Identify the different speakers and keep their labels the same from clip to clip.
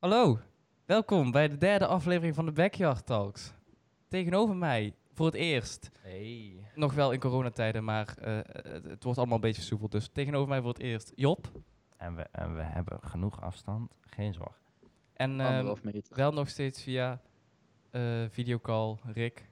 Speaker 1: Hallo, welkom bij de derde aflevering van de Backyard Talks. Tegenover mij, voor het eerst,
Speaker 2: Hey.
Speaker 1: nog wel in coronatijden, maar eh, het, het wordt allemaal een beetje soepel. Dus tegenover mij voor het eerst, Job.
Speaker 2: En we, en we hebben genoeg afstand, geen zorg.
Speaker 1: En ehm,
Speaker 3: Anderhalf meter.
Speaker 1: wel nog steeds via eh, videocall, Rick.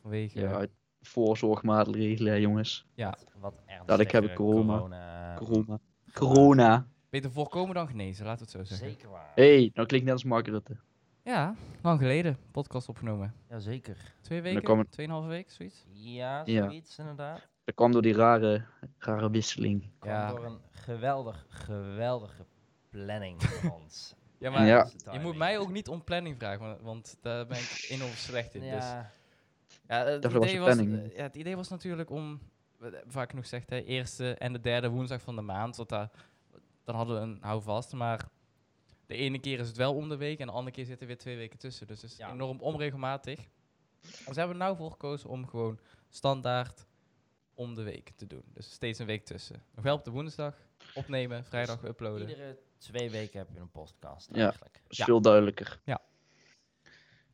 Speaker 1: Vanwege...
Speaker 3: Ja, uit voorzorgmaatregelen, hè, jongens.
Speaker 1: ja,
Speaker 2: Wat ernstig.
Speaker 3: ik heb corona.
Speaker 2: corona.
Speaker 3: Corona. Corona.
Speaker 1: beter voorkomen dan genezen, laten we het zo zeggen.
Speaker 2: Zeker waar.
Speaker 3: Hé, hey, nou klinkt net als Mark Rutte.
Speaker 1: Ja, lang geleden, podcast opgenomen.
Speaker 2: Ja, zeker.
Speaker 1: Twee weken,
Speaker 3: kwam het-
Speaker 1: tweeënhalve week, zoiets.
Speaker 2: Ja,
Speaker 3: Ja.
Speaker 2: zoiets inderdaad.
Speaker 3: Dat kwam door die rare, rare wisseling.
Speaker 2: Komt
Speaker 1: Ja.
Speaker 2: door een geweldig, geweldige planning van ons.
Speaker 1: Ja,
Speaker 3: maar
Speaker 1: maar
Speaker 3: Ja.
Speaker 1: je moet mij ook niet om planning vragen, want, want daar ben ik enorm slecht in. Dus.
Speaker 2: Ja,
Speaker 1: Ja, het
Speaker 3: Daarvoor was
Speaker 1: idee
Speaker 3: de
Speaker 1: was,
Speaker 3: planning.
Speaker 1: eh, ja, het idee was natuurlijk om, wat- eh, vaak genoeg zegt, de eerste en de derde woensdag van de maand. Want daar, dan hadden we een houvast. Maar de ene keer is het wel om de week en de andere keer zitten weer twee weken tussen. Dus het is
Speaker 2: Ja.
Speaker 1: enorm onregelmatig. Dus hebben we nou voor gekozen om gewoon standaard om de week te doen. Dus steeds een week tussen. Nog wel op de woensdag opnemen, vrijdag uploaden.
Speaker 2: iedere twee weken heb je een podcast
Speaker 3: Ja.
Speaker 2: eigenlijk.
Speaker 3: Dat is
Speaker 1: Ja.
Speaker 3: veel duidelijker.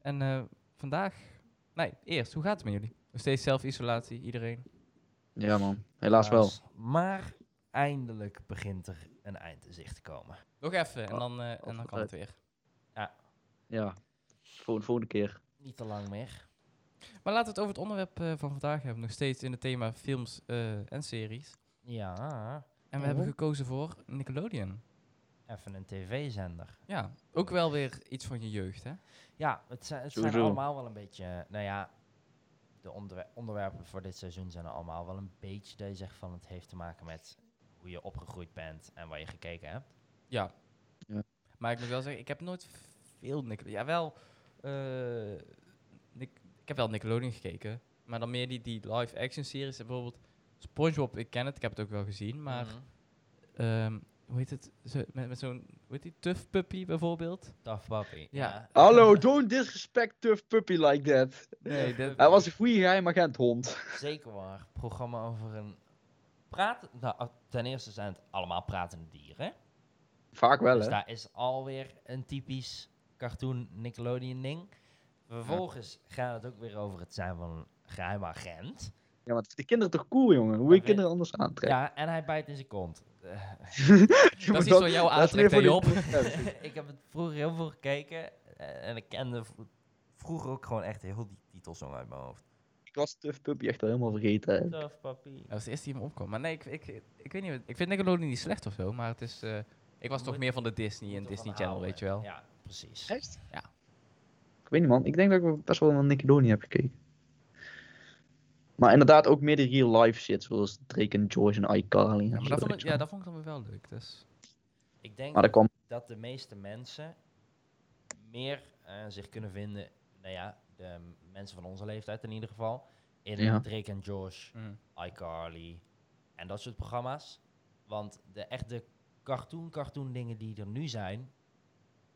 Speaker 1: En eh, vandaag, nee, eerst, hoe gaat het met jullie? Nog steeds zelfisolatie, iedereen?
Speaker 3: Ja, man. Helaas wel.
Speaker 2: Maar eindelijk begint er een eind in zicht te komen.
Speaker 1: Nog even en
Speaker 3: Oh,
Speaker 1: dan, eh, en dan
Speaker 3: altijd.
Speaker 1: kan het weer.
Speaker 3: Ja. Volgende, volgende keer.
Speaker 2: Niet te lang meer.
Speaker 1: Maar laten we het over het onderwerp eh, van vandaag hebben. Nog steeds in het thema films eh, en series.
Speaker 2: Ja,
Speaker 1: En we hebben gekozen voor Nickelodeon.
Speaker 2: even een tv-zender.
Speaker 1: Ja, ook wel weer iets van je jeugd, hè?
Speaker 2: Ja, het zijn, het zijn
Speaker 3: Sowieso.
Speaker 2: allemaal wel een beetje. eh, Nou ja, de onderwe- onderwerpen voor dit seizoen zijn allemaal wel een beetje dat je zegt van het heeft te maken met hoe je opgegroeid bent en waar je gekeken hebt.
Speaker 1: Ja.
Speaker 3: Ja.
Speaker 1: Maar ik moet wel zeggen, ik heb nooit veel Nickelodeon... Ja, wel... eh, Nic- ik heb wel Nickelodeon gekeken. Maar dan meer die, die live-action series. En Bijvoorbeeld Spongebob, ik ken het. Ik heb het ook wel gezien. Maar
Speaker 2: Mhm.
Speaker 1: ehm, hoe heet het? Zo, met met zo'n... Hoe heet die? Tough Puppy bijvoorbeeld?
Speaker 2: Tough Puppy.
Speaker 1: Ja.
Speaker 3: Hallo, don't disrespect tough puppy like that.
Speaker 1: Nee, dat...
Speaker 3: Hij was een goede geheim agent hond.
Speaker 2: Zeker waar. Programma over een. Praten. Nou, ah, ten eerste zijn het allemaal pratende dieren.
Speaker 3: Vaak wel,
Speaker 2: dus
Speaker 3: hè?
Speaker 2: daar is alweer een typisch cartoon Nickelodeon-ding. Vervolgens gaat het ook weer over het zijn van een geheime agent.
Speaker 3: Ja, maar de kinderen toch cool, jongen. Hoe je
Speaker 2: Oké.
Speaker 3: kinderen anders aantrekken.
Speaker 2: Ja, en hij bijt in zijn kont. Eh,
Speaker 1: Dat is iets wat jou aantrekt, hè, Job?
Speaker 2: ik heb het vroeger heel veel gekeken eh, en ik kende v- vroeger ook gewoon echt heel die titelsong uit mijn hoofd.
Speaker 3: Ik was tough puppy echt al helemaal vergeten. hè.
Speaker 2: Tof, papi.
Speaker 1: Dat was de eerste die me opkwam. Maar nee, ik, ik, ik weet niet. Ik vind Nickelodeon niet slecht of zo, maar het is. eh, ik was toch
Speaker 2: Moet-
Speaker 1: meer van de Disney en
Speaker 2: Moet
Speaker 1: Disney
Speaker 2: ervan
Speaker 1: Channel,
Speaker 2: houden.
Speaker 1: weet je wel.
Speaker 2: Ja, precies.
Speaker 3: Echt?
Speaker 1: Ja.
Speaker 3: Ik weet niet, man. Ik denk dat ik best wel naar Nickelodeon heb gekeken. Maar inderdaad ook meer de real-life shit, zoals Drake en George en iCarly. en
Speaker 1: Ja, maar dat
Speaker 3: zo,
Speaker 1: vond
Speaker 3: weet
Speaker 1: ik,
Speaker 3: je
Speaker 1: ja,
Speaker 3: wel.
Speaker 1: dat vond ik dan weer wel leuk. Dus.
Speaker 2: Ik denk
Speaker 3: Maar dat kwam...
Speaker 2: dat de meeste mensen meer eh, zich kunnen vinden, nou ja, de m- mensen van onze leeftijd in ieder geval, in
Speaker 3: Ja.
Speaker 2: Drake en Josh,
Speaker 1: Mm.
Speaker 2: iCarly en dat soort programma's. Want de echte cartoon-cartoon dingen die er nu zijn,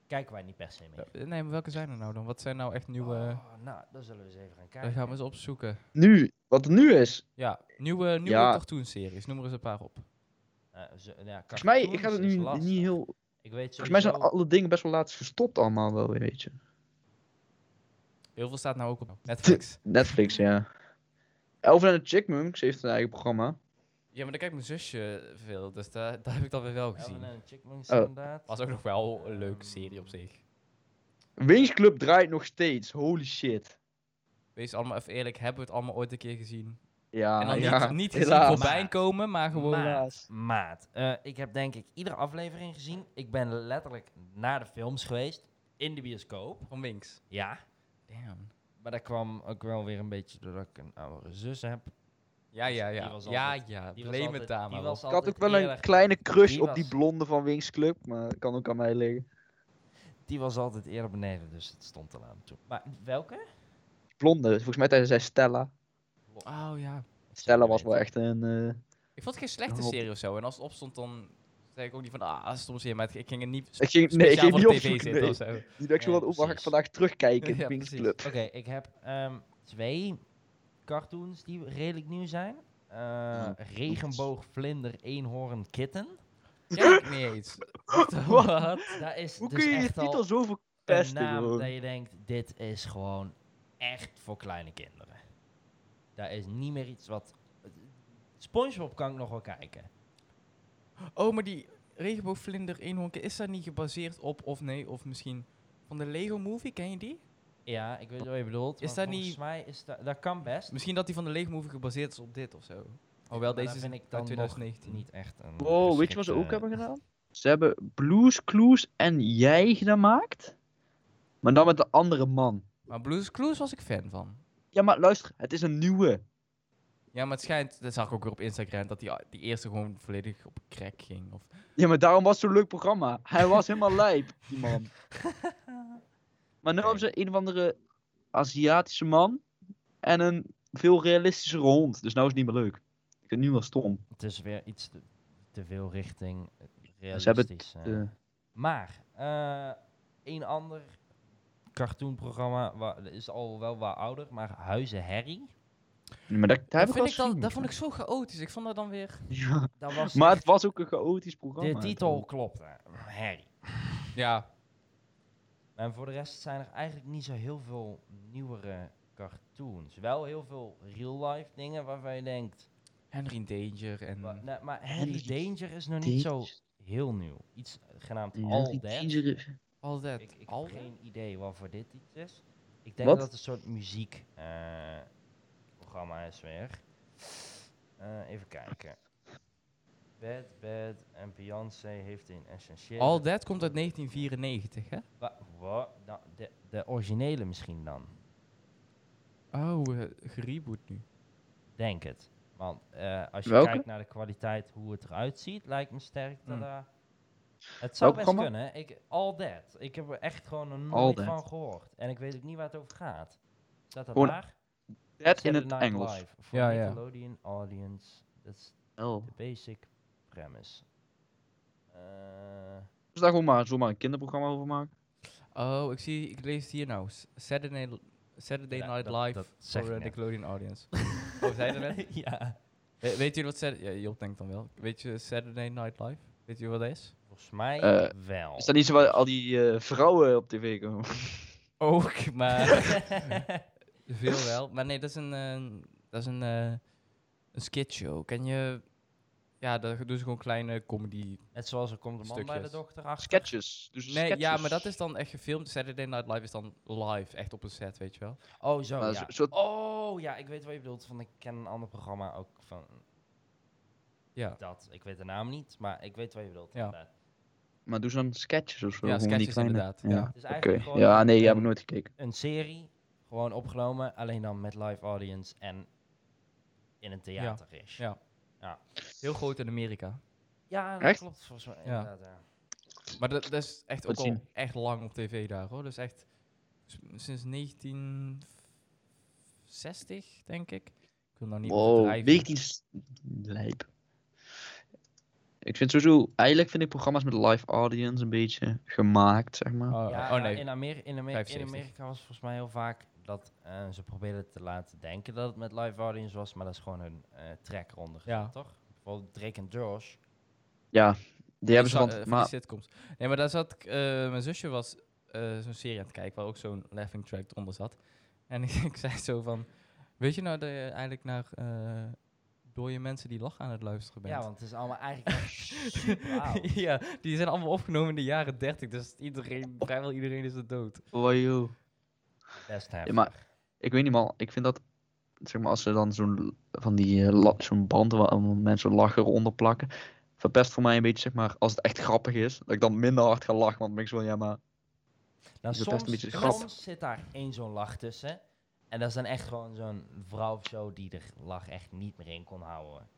Speaker 2: kijken wij niet per se meer.
Speaker 1: Eh, Nee, maar welke zijn er nou dan? Wat zijn nou echt nieuwe.
Speaker 2: Oh, nou, dan zullen we eens even gaan kijken.
Speaker 1: Daar gaan we eens opzoeken.
Speaker 3: Nu, wat er nu is.
Speaker 1: Ja, nieuwe, nieuwe
Speaker 3: Ja.
Speaker 1: cartoonseries. Noem er eens een paar op.
Speaker 2: Eh, zo- nou ja,
Speaker 3: Volgens mij, ik ga
Speaker 2: cartoons
Speaker 3: het
Speaker 2: is
Speaker 3: nu
Speaker 2: lastig.
Speaker 3: niet heel...
Speaker 2: Ik weet
Speaker 3: Volgens mij zijn
Speaker 2: sowieso-
Speaker 3: alle dingen best wel laatst gestopt allemaal wel weer, weet je.
Speaker 1: Heel veel staat nou ook op Netflix.
Speaker 3: Netflix, ja. Elven en de Chickmunks heeft een eigen programma.
Speaker 1: Ja, maar daar kijkt mijn zusje veel, dus daar, daar heb ik dan weer wel
Speaker 2: Ellen
Speaker 1: gezien.
Speaker 2: en de Chickmunks
Speaker 3: Oh.
Speaker 2: inderdaad.
Speaker 1: Was ook nog wel een leuke serie op zich.
Speaker 3: Wings Club draait nog steeds, holy shit.
Speaker 1: Wees allemaal even eerlijk, hebben we het allemaal ooit een keer gezien?
Speaker 3: Ja,
Speaker 1: en dan
Speaker 3: ja,
Speaker 1: niet, niet gezien
Speaker 3: helaas.
Speaker 1: voorbij komen, Ah, maar gewoon...
Speaker 2: Maat, maat. Eh, ik heb denk ik iedere aflevering gezien. Ik ben letterlijk naar de films geweest. In de bioscoop.
Speaker 1: Van Winks.
Speaker 2: Ja.
Speaker 1: Damn.
Speaker 2: Maar dat kwam ook wel weer een beetje doordat ik een oudere zus heb.
Speaker 1: Ja, ja, ja.
Speaker 2: Die was
Speaker 1: ja,
Speaker 2: altijd-
Speaker 1: ja.
Speaker 2: Die
Speaker 1: Blame het daar
Speaker 2: die
Speaker 1: maar
Speaker 2: was
Speaker 1: op.
Speaker 3: Ik had
Speaker 2: altijd
Speaker 3: ook wel een
Speaker 2: eerder-
Speaker 3: kleine crush
Speaker 2: die
Speaker 3: op die
Speaker 2: was-
Speaker 3: blonde van Wings Club, maar dat kan ook aan mij liggen.
Speaker 2: Die was altijd eerder beneden, dus het stond er aan toe. Maar welke?
Speaker 3: Blonde, volgens mij tijdens zij Stella.
Speaker 1: Oh, ja.
Speaker 3: Stella was wel echt een... eh,
Speaker 1: Ik vond het geen slechte
Speaker 3: Rob.
Speaker 1: serie of zo. En als het opstond, dan zei ik ook niet van... Ah, stom serie. Maar ik ging er niet
Speaker 3: ik ging, nee, ik
Speaker 1: speciaal
Speaker 3: ging
Speaker 1: voor
Speaker 3: niet
Speaker 1: de tv
Speaker 3: opzoeken,
Speaker 1: zitten
Speaker 3: nee.
Speaker 1: of zo.
Speaker 3: Die dacht zo
Speaker 2: Nee,
Speaker 3: van, oh, mag ik
Speaker 2: precies.
Speaker 3: vandaag terugkijken,
Speaker 1: Ja,
Speaker 3: ja, Wings
Speaker 1: precies.
Speaker 3: Club.
Speaker 2: Oké, ik heb ehm, twee cartoons
Speaker 3: Oh,
Speaker 2: die redelijk nieuw zijn. Eh, regenboog, vlinder, eenhoorn, kitten.
Speaker 1: Kijk niet eens. Wat?
Speaker 2: Daar is
Speaker 3: Hoe
Speaker 2: dus
Speaker 3: kun je je
Speaker 2: echt al
Speaker 3: titel zo
Speaker 2: een
Speaker 3: verpesten,
Speaker 2: naam dat
Speaker 3: gewoon?
Speaker 2: je denkt, dit is gewoon echt voor kleine kinderen. Daar is niet meer iets wat... Spongebob kan ik nog wel kijken.
Speaker 1: Oh, maar die regenboogvlinder eenhoornke, is dat niet gebaseerd op of nee? Of misschien van de Lego Movie, ken je die?
Speaker 2: Ja, ik weet wat je bedoelt.
Speaker 1: Is
Speaker 2: maar
Speaker 1: dat
Speaker 2: volgens
Speaker 1: niet-
Speaker 2: mij is dat... Dat kan best.
Speaker 1: Misschien dat die van de Lego Movie gebaseerd is op dit of zo. Hoewel,
Speaker 2: Maar
Speaker 1: deze
Speaker 2: dat
Speaker 1: is
Speaker 2: vind
Speaker 1: uit
Speaker 2: ik dan nog
Speaker 1: 2019.
Speaker 2: Niet echt een...
Speaker 3: Oh, weet je wat ze ook
Speaker 2: geschikte-
Speaker 3: hebben gedaan? Ze hebben Blues Clues en Jij gemaakt. Maar dan met de andere man.
Speaker 1: Maar Blues Clues was ik fan van.
Speaker 3: Ja, maar luister, het is een nieuwe.
Speaker 1: Ja, maar het schijnt, dat zag ik ook weer op Instagram, dat die, die eerste gewoon volledig op crack ging. Of,
Speaker 3: Ja, maar daarom was het zo'n leuk programma. Hij was helemaal lijp, die man. Maar nu
Speaker 2: Oké.
Speaker 3: hebben ze een of andere Aziatische man en een veel realistischere hond. Dus nou is het niet meer leuk. Ik vind het nu wel stom.
Speaker 2: Het is weer iets te, te veel richting eh,
Speaker 3: Ze hebben
Speaker 2: realistisch.
Speaker 3: het,
Speaker 2: eh.
Speaker 3: eh,
Speaker 2: Maar, eh een ander cartoonprogramma wa- dat is al wel wat ouder, maar Huizen Harry.
Speaker 3: maar dat, daar heb
Speaker 1: dat,
Speaker 3: ik wel
Speaker 1: vind ik dan,
Speaker 3: zin in.
Speaker 1: dat vond ik zo chaotisch. Ik vond dat dan weer...
Speaker 3: Ja,
Speaker 2: Dat was
Speaker 3: Maar het
Speaker 2: echt-
Speaker 3: was ook een chaotisch programma.
Speaker 2: de titel klopte, Harry.
Speaker 1: Ja,
Speaker 2: En voor de rest zijn er eigenlijk niet zo heel veel nieuwere cartoons. Wel heel veel real-life dingen waarvan je denkt...
Speaker 1: Henry in Danger en...
Speaker 2: wa- nou, nee, maar Hmm. Harry
Speaker 3: Henry
Speaker 2: Danger is nog niet zo heel nieuw. Iets genaamd All That.
Speaker 1: Al dat.
Speaker 2: Ik, ik
Speaker 1: al
Speaker 2: heb
Speaker 1: dat?
Speaker 2: geen idee waarvoor dit iets is. Ik denk
Speaker 3: Wat?
Speaker 2: dat het een soort muziek eh, programma is weer. Eh, even kijken. Bad, Bad en Beyoncé heeft een essentieel.
Speaker 1: All That komt uit 1994, hè?
Speaker 2: Wa- wa- nou, de, de originele misschien dan.
Speaker 1: Oh, eh, gereboot nu.
Speaker 2: Denk het. Want eh, als je
Speaker 3: Welke?
Speaker 2: kijkt naar de kwaliteit, hoe het eruit ziet, lijkt me sterk dat
Speaker 1: Hmm.
Speaker 2: daar- Het zou
Speaker 3: Welk
Speaker 2: best
Speaker 3: programma?
Speaker 2: kunnen. Ik, all That. Ik heb er echt gewoon nog
Speaker 3: All
Speaker 2: nooit
Speaker 3: That.
Speaker 2: van gehoord. En ik weet ook niet waar het over gaat. Staat dat
Speaker 3: Gewoon
Speaker 2: daar?
Speaker 3: Dat in
Speaker 2: Saturday
Speaker 3: het
Speaker 2: Night
Speaker 3: Engels.
Speaker 2: Live voor
Speaker 1: Ja, ja.
Speaker 2: Nickelodeon audience. That's
Speaker 3: Oh.
Speaker 2: the basic premise. Eh,
Speaker 3: Dus daar gewoon maar, zomaar een kinderprogramma over maken.
Speaker 1: Oh, ik zie, ik lees het hier nou. S- Saturday, L- Saturday
Speaker 2: Ja,
Speaker 1: Night
Speaker 2: dat-
Speaker 1: Live
Speaker 2: dat zeg
Speaker 1: voor
Speaker 2: ik
Speaker 1: eh,
Speaker 2: net.
Speaker 1: Nickelodeon Audience. oh, zei je dat net?
Speaker 2: ja.
Speaker 1: We- weet jullie wat Saturday... Ja, Job denkt dan wel. Weet je Saturday Night Live? Weet je wat dat is?
Speaker 2: Volgens mij
Speaker 3: Eh,
Speaker 1: Oh.
Speaker 2: wel.
Speaker 3: Is dat niet zo waar al die eh, vrouwen op tv komen?
Speaker 1: Ook, maar... Veel wel. Maar nee, dat is een, eh, dat is een, eh een skitshow. Ken je... Ja, daar doen ze gewoon kleine comedy...
Speaker 2: Net zoals er komt een man bij de
Speaker 1: Stukjes.
Speaker 2: dochter achter.
Speaker 3: Sketches. Dus
Speaker 1: Nee,
Speaker 3: sketches.
Speaker 1: ja, maar dat is dan echt gefilmd. Saturday Night Live is dan live, echt op een set, weet je wel.
Speaker 2: Oh, zo,
Speaker 3: Maar
Speaker 2: ja.
Speaker 3: zo- soort-
Speaker 2: Oh, ja, ik weet wat je bedoelt. Van, ik ken een ander programma ook van
Speaker 1: Ja.
Speaker 2: dat. Ik weet de naam niet, maar ik weet wat je bedoelt.
Speaker 1: Ja.
Speaker 2: inderdaad.
Speaker 3: Maar doen ze dan sketches of zo?
Speaker 1: Ja,
Speaker 3: gewoon die
Speaker 1: sketches inderdaad, ja.
Speaker 3: Ja,
Speaker 1: Het
Speaker 2: is
Speaker 3: oké.
Speaker 2: eigenlijk gewoon
Speaker 3: Ja, nee, die
Speaker 2: een-
Speaker 3: heb ik nooit gekeken.
Speaker 2: Een serie, gewoon opgenomen, alleen dan met live audience en in een theater is.
Speaker 1: Ja.
Speaker 2: Ja.
Speaker 1: Heel groot in Amerika.
Speaker 2: Ja, dat
Speaker 3: Echt?
Speaker 2: klopt volgens mij.
Speaker 1: Ja.
Speaker 2: Inderdaad, ja.
Speaker 1: Maar dat, dat is echt ook
Speaker 3: Goed
Speaker 1: al
Speaker 3: zien.
Speaker 1: echt lang op tv daar hoor. Dus echt s- sinds 1960, denk ik. Ik wil nou niet
Speaker 3: Wow,
Speaker 1: overdrijven.
Speaker 3: 19... s- Lijp. Ik vind sowieso... Eigenlijk vind ik programma's met live audience een beetje gemaakt, zeg maar.
Speaker 1: Oh,
Speaker 2: Ja,
Speaker 1: oh,
Speaker 2: nou,
Speaker 1: nee.
Speaker 2: in, Amer- in, Amer- in
Speaker 1: 75.
Speaker 2: Amerika was volgens mij heel vaak dat eh, ze probeerden te laten denken dat het met live audience was, maar dat is gewoon hun eh track eronder gezet,
Speaker 1: Ja.
Speaker 2: toch? Bijvoorbeeld Drake en Josh.
Speaker 3: Ja, die hebben ze
Speaker 1: Sa-
Speaker 3: van...
Speaker 1: eh, die
Speaker 3: maar
Speaker 1: sitcoms. Nee, maar daar zat... ik, eh, mijn zusje was eh, zo'n serie aan het kijken... waar ook zo'n laughing track onder zat. En ik, ik zei zo van... Weet je nou dat je eigenlijk naar eh dode mensen die lachen aan het luisteren bent?
Speaker 2: Ja, want het is allemaal eigenlijk echt super oud.
Speaker 1: ja, die zijn allemaal opgenomen in de jaren 30. Dus iedereen, vrijwel iedereen is er dood.
Speaker 3: Oh, joh.
Speaker 2: Best
Speaker 3: Ja,
Speaker 2: heftig. Nou,
Speaker 3: maar ik weet niet, man. Ik vind dat... Zeg maar, als ze dan zo'n... Van die eh, la- zo'n band waar allemaal mensen lachen eronder plakken... Verpest voor mij een beetje, zeg maar, als het echt grappig is. Dat ik dan minder hard ga lachen, want dan ben ik zo van, ja, maar...
Speaker 2: nou,
Speaker 3: is het best
Speaker 2: soms,
Speaker 3: een beetje
Speaker 2: soms
Speaker 3: grap.
Speaker 2: zit daar één zo'n lach tussen. En dat is dan echt gewoon zo'n vrouw of zo die de lach echt niet meer in kon houden.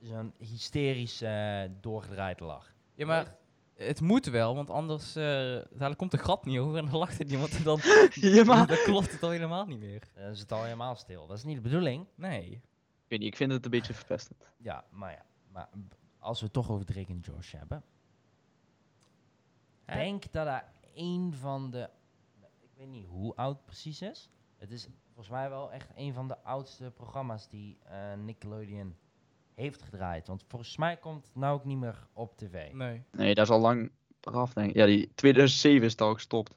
Speaker 2: Zo'n hysterisch eh doorgedraaide lach.
Speaker 1: Ja, maar het moet wel, want anders eh, dadelijk komt de grap niet over en dan lacht er niemand en dan,
Speaker 3: Ja, maar...
Speaker 1: dan klopt het al helemaal niet meer.
Speaker 2: Dan is het al helemaal stil. Dat is niet de bedoeling.
Speaker 1: Nee.
Speaker 3: Ik weet niet, ik vind het een beetje verpestend.
Speaker 2: Ja, maar ja. Maar b- als we het toch over Drake en Josh hebben.
Speaker 1: Hè?
Speaker 2: Denk dat daar één van de... Ik weet niet hoe oud precies is. Het is volgens mij wel echt een van de oudste programma's die eh, Nickelodeon heeft gedraaid. Want volgens mij komt het nou ook niet meer op tv.
Speaker 1: Nee.
Speaker 3: Nee, dat is al lang eraf, denk ik. Ja, die 2007 is het al gestopt.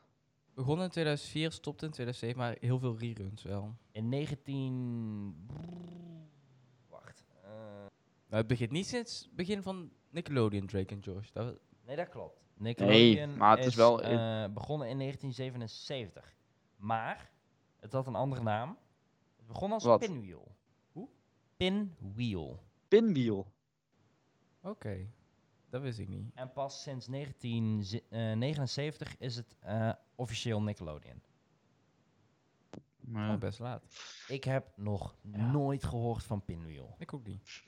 Speaker 1: Begon in 2004, stopte in 2007, maar heel veel reruns wel.
Speaker 2: In 19... Wacht. eh,
Speaker 1: Maar Nou, het begint niet sinds het begin van Nickelodeon, Drake en Josh. Dat,
Speaker 2: nee, dat klopt. Nickelodeon
Speaker 3: maar het is wel-
Speaker 2: eh, begonnen in 1977. Maar het had een andere naam. Het begon als
Speaker 3: Wat?
Speaker 2: Pinwheel. Hoe? Pinwheel.
Speaker 3: Pinwheel.
Speaker 1: Oké, dat wist ik niet.
Speaker 2: En pas sinds 1979 is het eh, officieel Nickelodeon.
Speaker 1: Oh,
Speaker 3: Maar
Speaker 1: best laat.
Speaker 2: Ik heb nog
Speaker 1: Ja.
Speaker 2: nooit gehoord van Pinwheel.
Speaker 1: Ik ook niet. Niet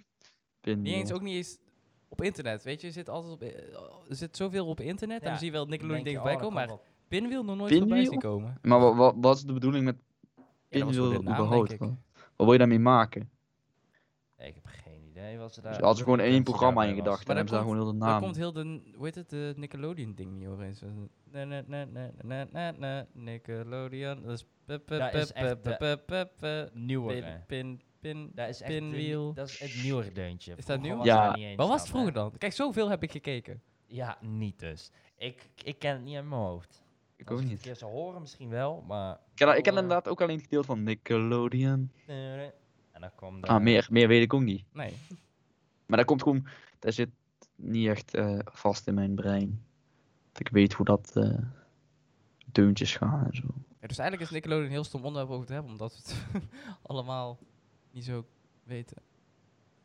Speaker 3: Pinwheel.
Speaker 1: eens, ook niet eens op internet. Weet je, je zit altijd op, eh, er zit zoveel op internet en
Speaker 2: Ja,
Speaker 1: dan zie je wel
Speaker 2: Dan denk
Speaker 1: Nickelodeon dingen
Speaker 2: je, oh,
Speaker 1: voorbij
Speaker 2: dat
Speaker 1: komen, maar
Speaker 2: kan wel.
Speaker 1: Pinwheel nog nooit
Speaker 3: Pinwheel?
Speaker 1: voorbij zien komen.
Speaker 3: Maar wa- wa- wat is de bedoeling met
Speaker 1: Ja, dat was
Speaker 3: Pinwheel
Speaker 1: voor de naam,
Speaker 3: überhaupt?
Speaker 1: denk ik.
Speaker 3: Wat wat wil je daarmee maken?
Speaker 2: Ik heb geen idee wat ze daar...
Speaker 3: Dus hadden ze gewoon
Speaker 2: wat
Speaker 3: één
Speaker 2: ze
Speaker 3: programma in
Speaker 2: daarbij was.
Speaker 3: gedachten
Speaker 1: Maar
Speaker 3: en hebben ze daar
Speaker 1: dat
Speaker 3: gewoon heel de
Speaker 1: Daar
Speaker 3: naam.
Speaker 1: komt heel de, hoe heet het, de Nickelodeon ding niet overeen. Nee, nee, nee, nee, nee, nee, nee, Nickelodeon. Dat is... pup, pup,
Speaker 2: Dat is
Speaker 1: pup,
Speaker 2: echt
Speaker 1: pup, pup, pup, pup.
Speaker 2: Nieuwere.
Speaker 1: Pin, pin, pin.
Speaker 2: Dat is echt de-
Speaker 1: Pinwheel.
Speaker 2: dat is het nieuwere deuntje.
Speaker 1: Is dat
Speaker 2: Vroeger
Speaker 1: nieuw?
Speaker 2: was
Speaker 3: Ja.
Speaker 2: daar niet eens
Speaker 1: Wat was het
Speaker 2: aan,
Speaker 1: vroeger
Speaker 2: hè?
Speaker 1: dan? Kijk, zoveel heb ik gekeken.
Speaker 2: Ja, niet dus. Ik, ik ken het niet uit mijn hoofd.
Speaker 3: Ik
Speaker 2: Als
Speaker 3: ook
Speaker 2: ik
Speaker 3: niet.
Speaker 2: het een keer zou horen misschien wel, maar...
Speaker 3: Ik ken, ik ken
Speaker 1: Oh.
Speaker 3: inderdaad ook alleen het gedeelte van Nickelodeon.
Speaker 2: En dan kwam de...
Speaker 3: Ah, meer, meer weet ik ook niet.
Speaker 1: Nee.
Speaker 3: Maar dat komt gewoon, dat zit niet echt eh, vast in mijn brein. Dat ik weet hoe dat eh deuntjes gaan en zo.
Speaker 1: Ja, dus eigenlijk is Nickelodeon een heel stom onderwerp over te hebben, omdat we het allemaal niet zo weten.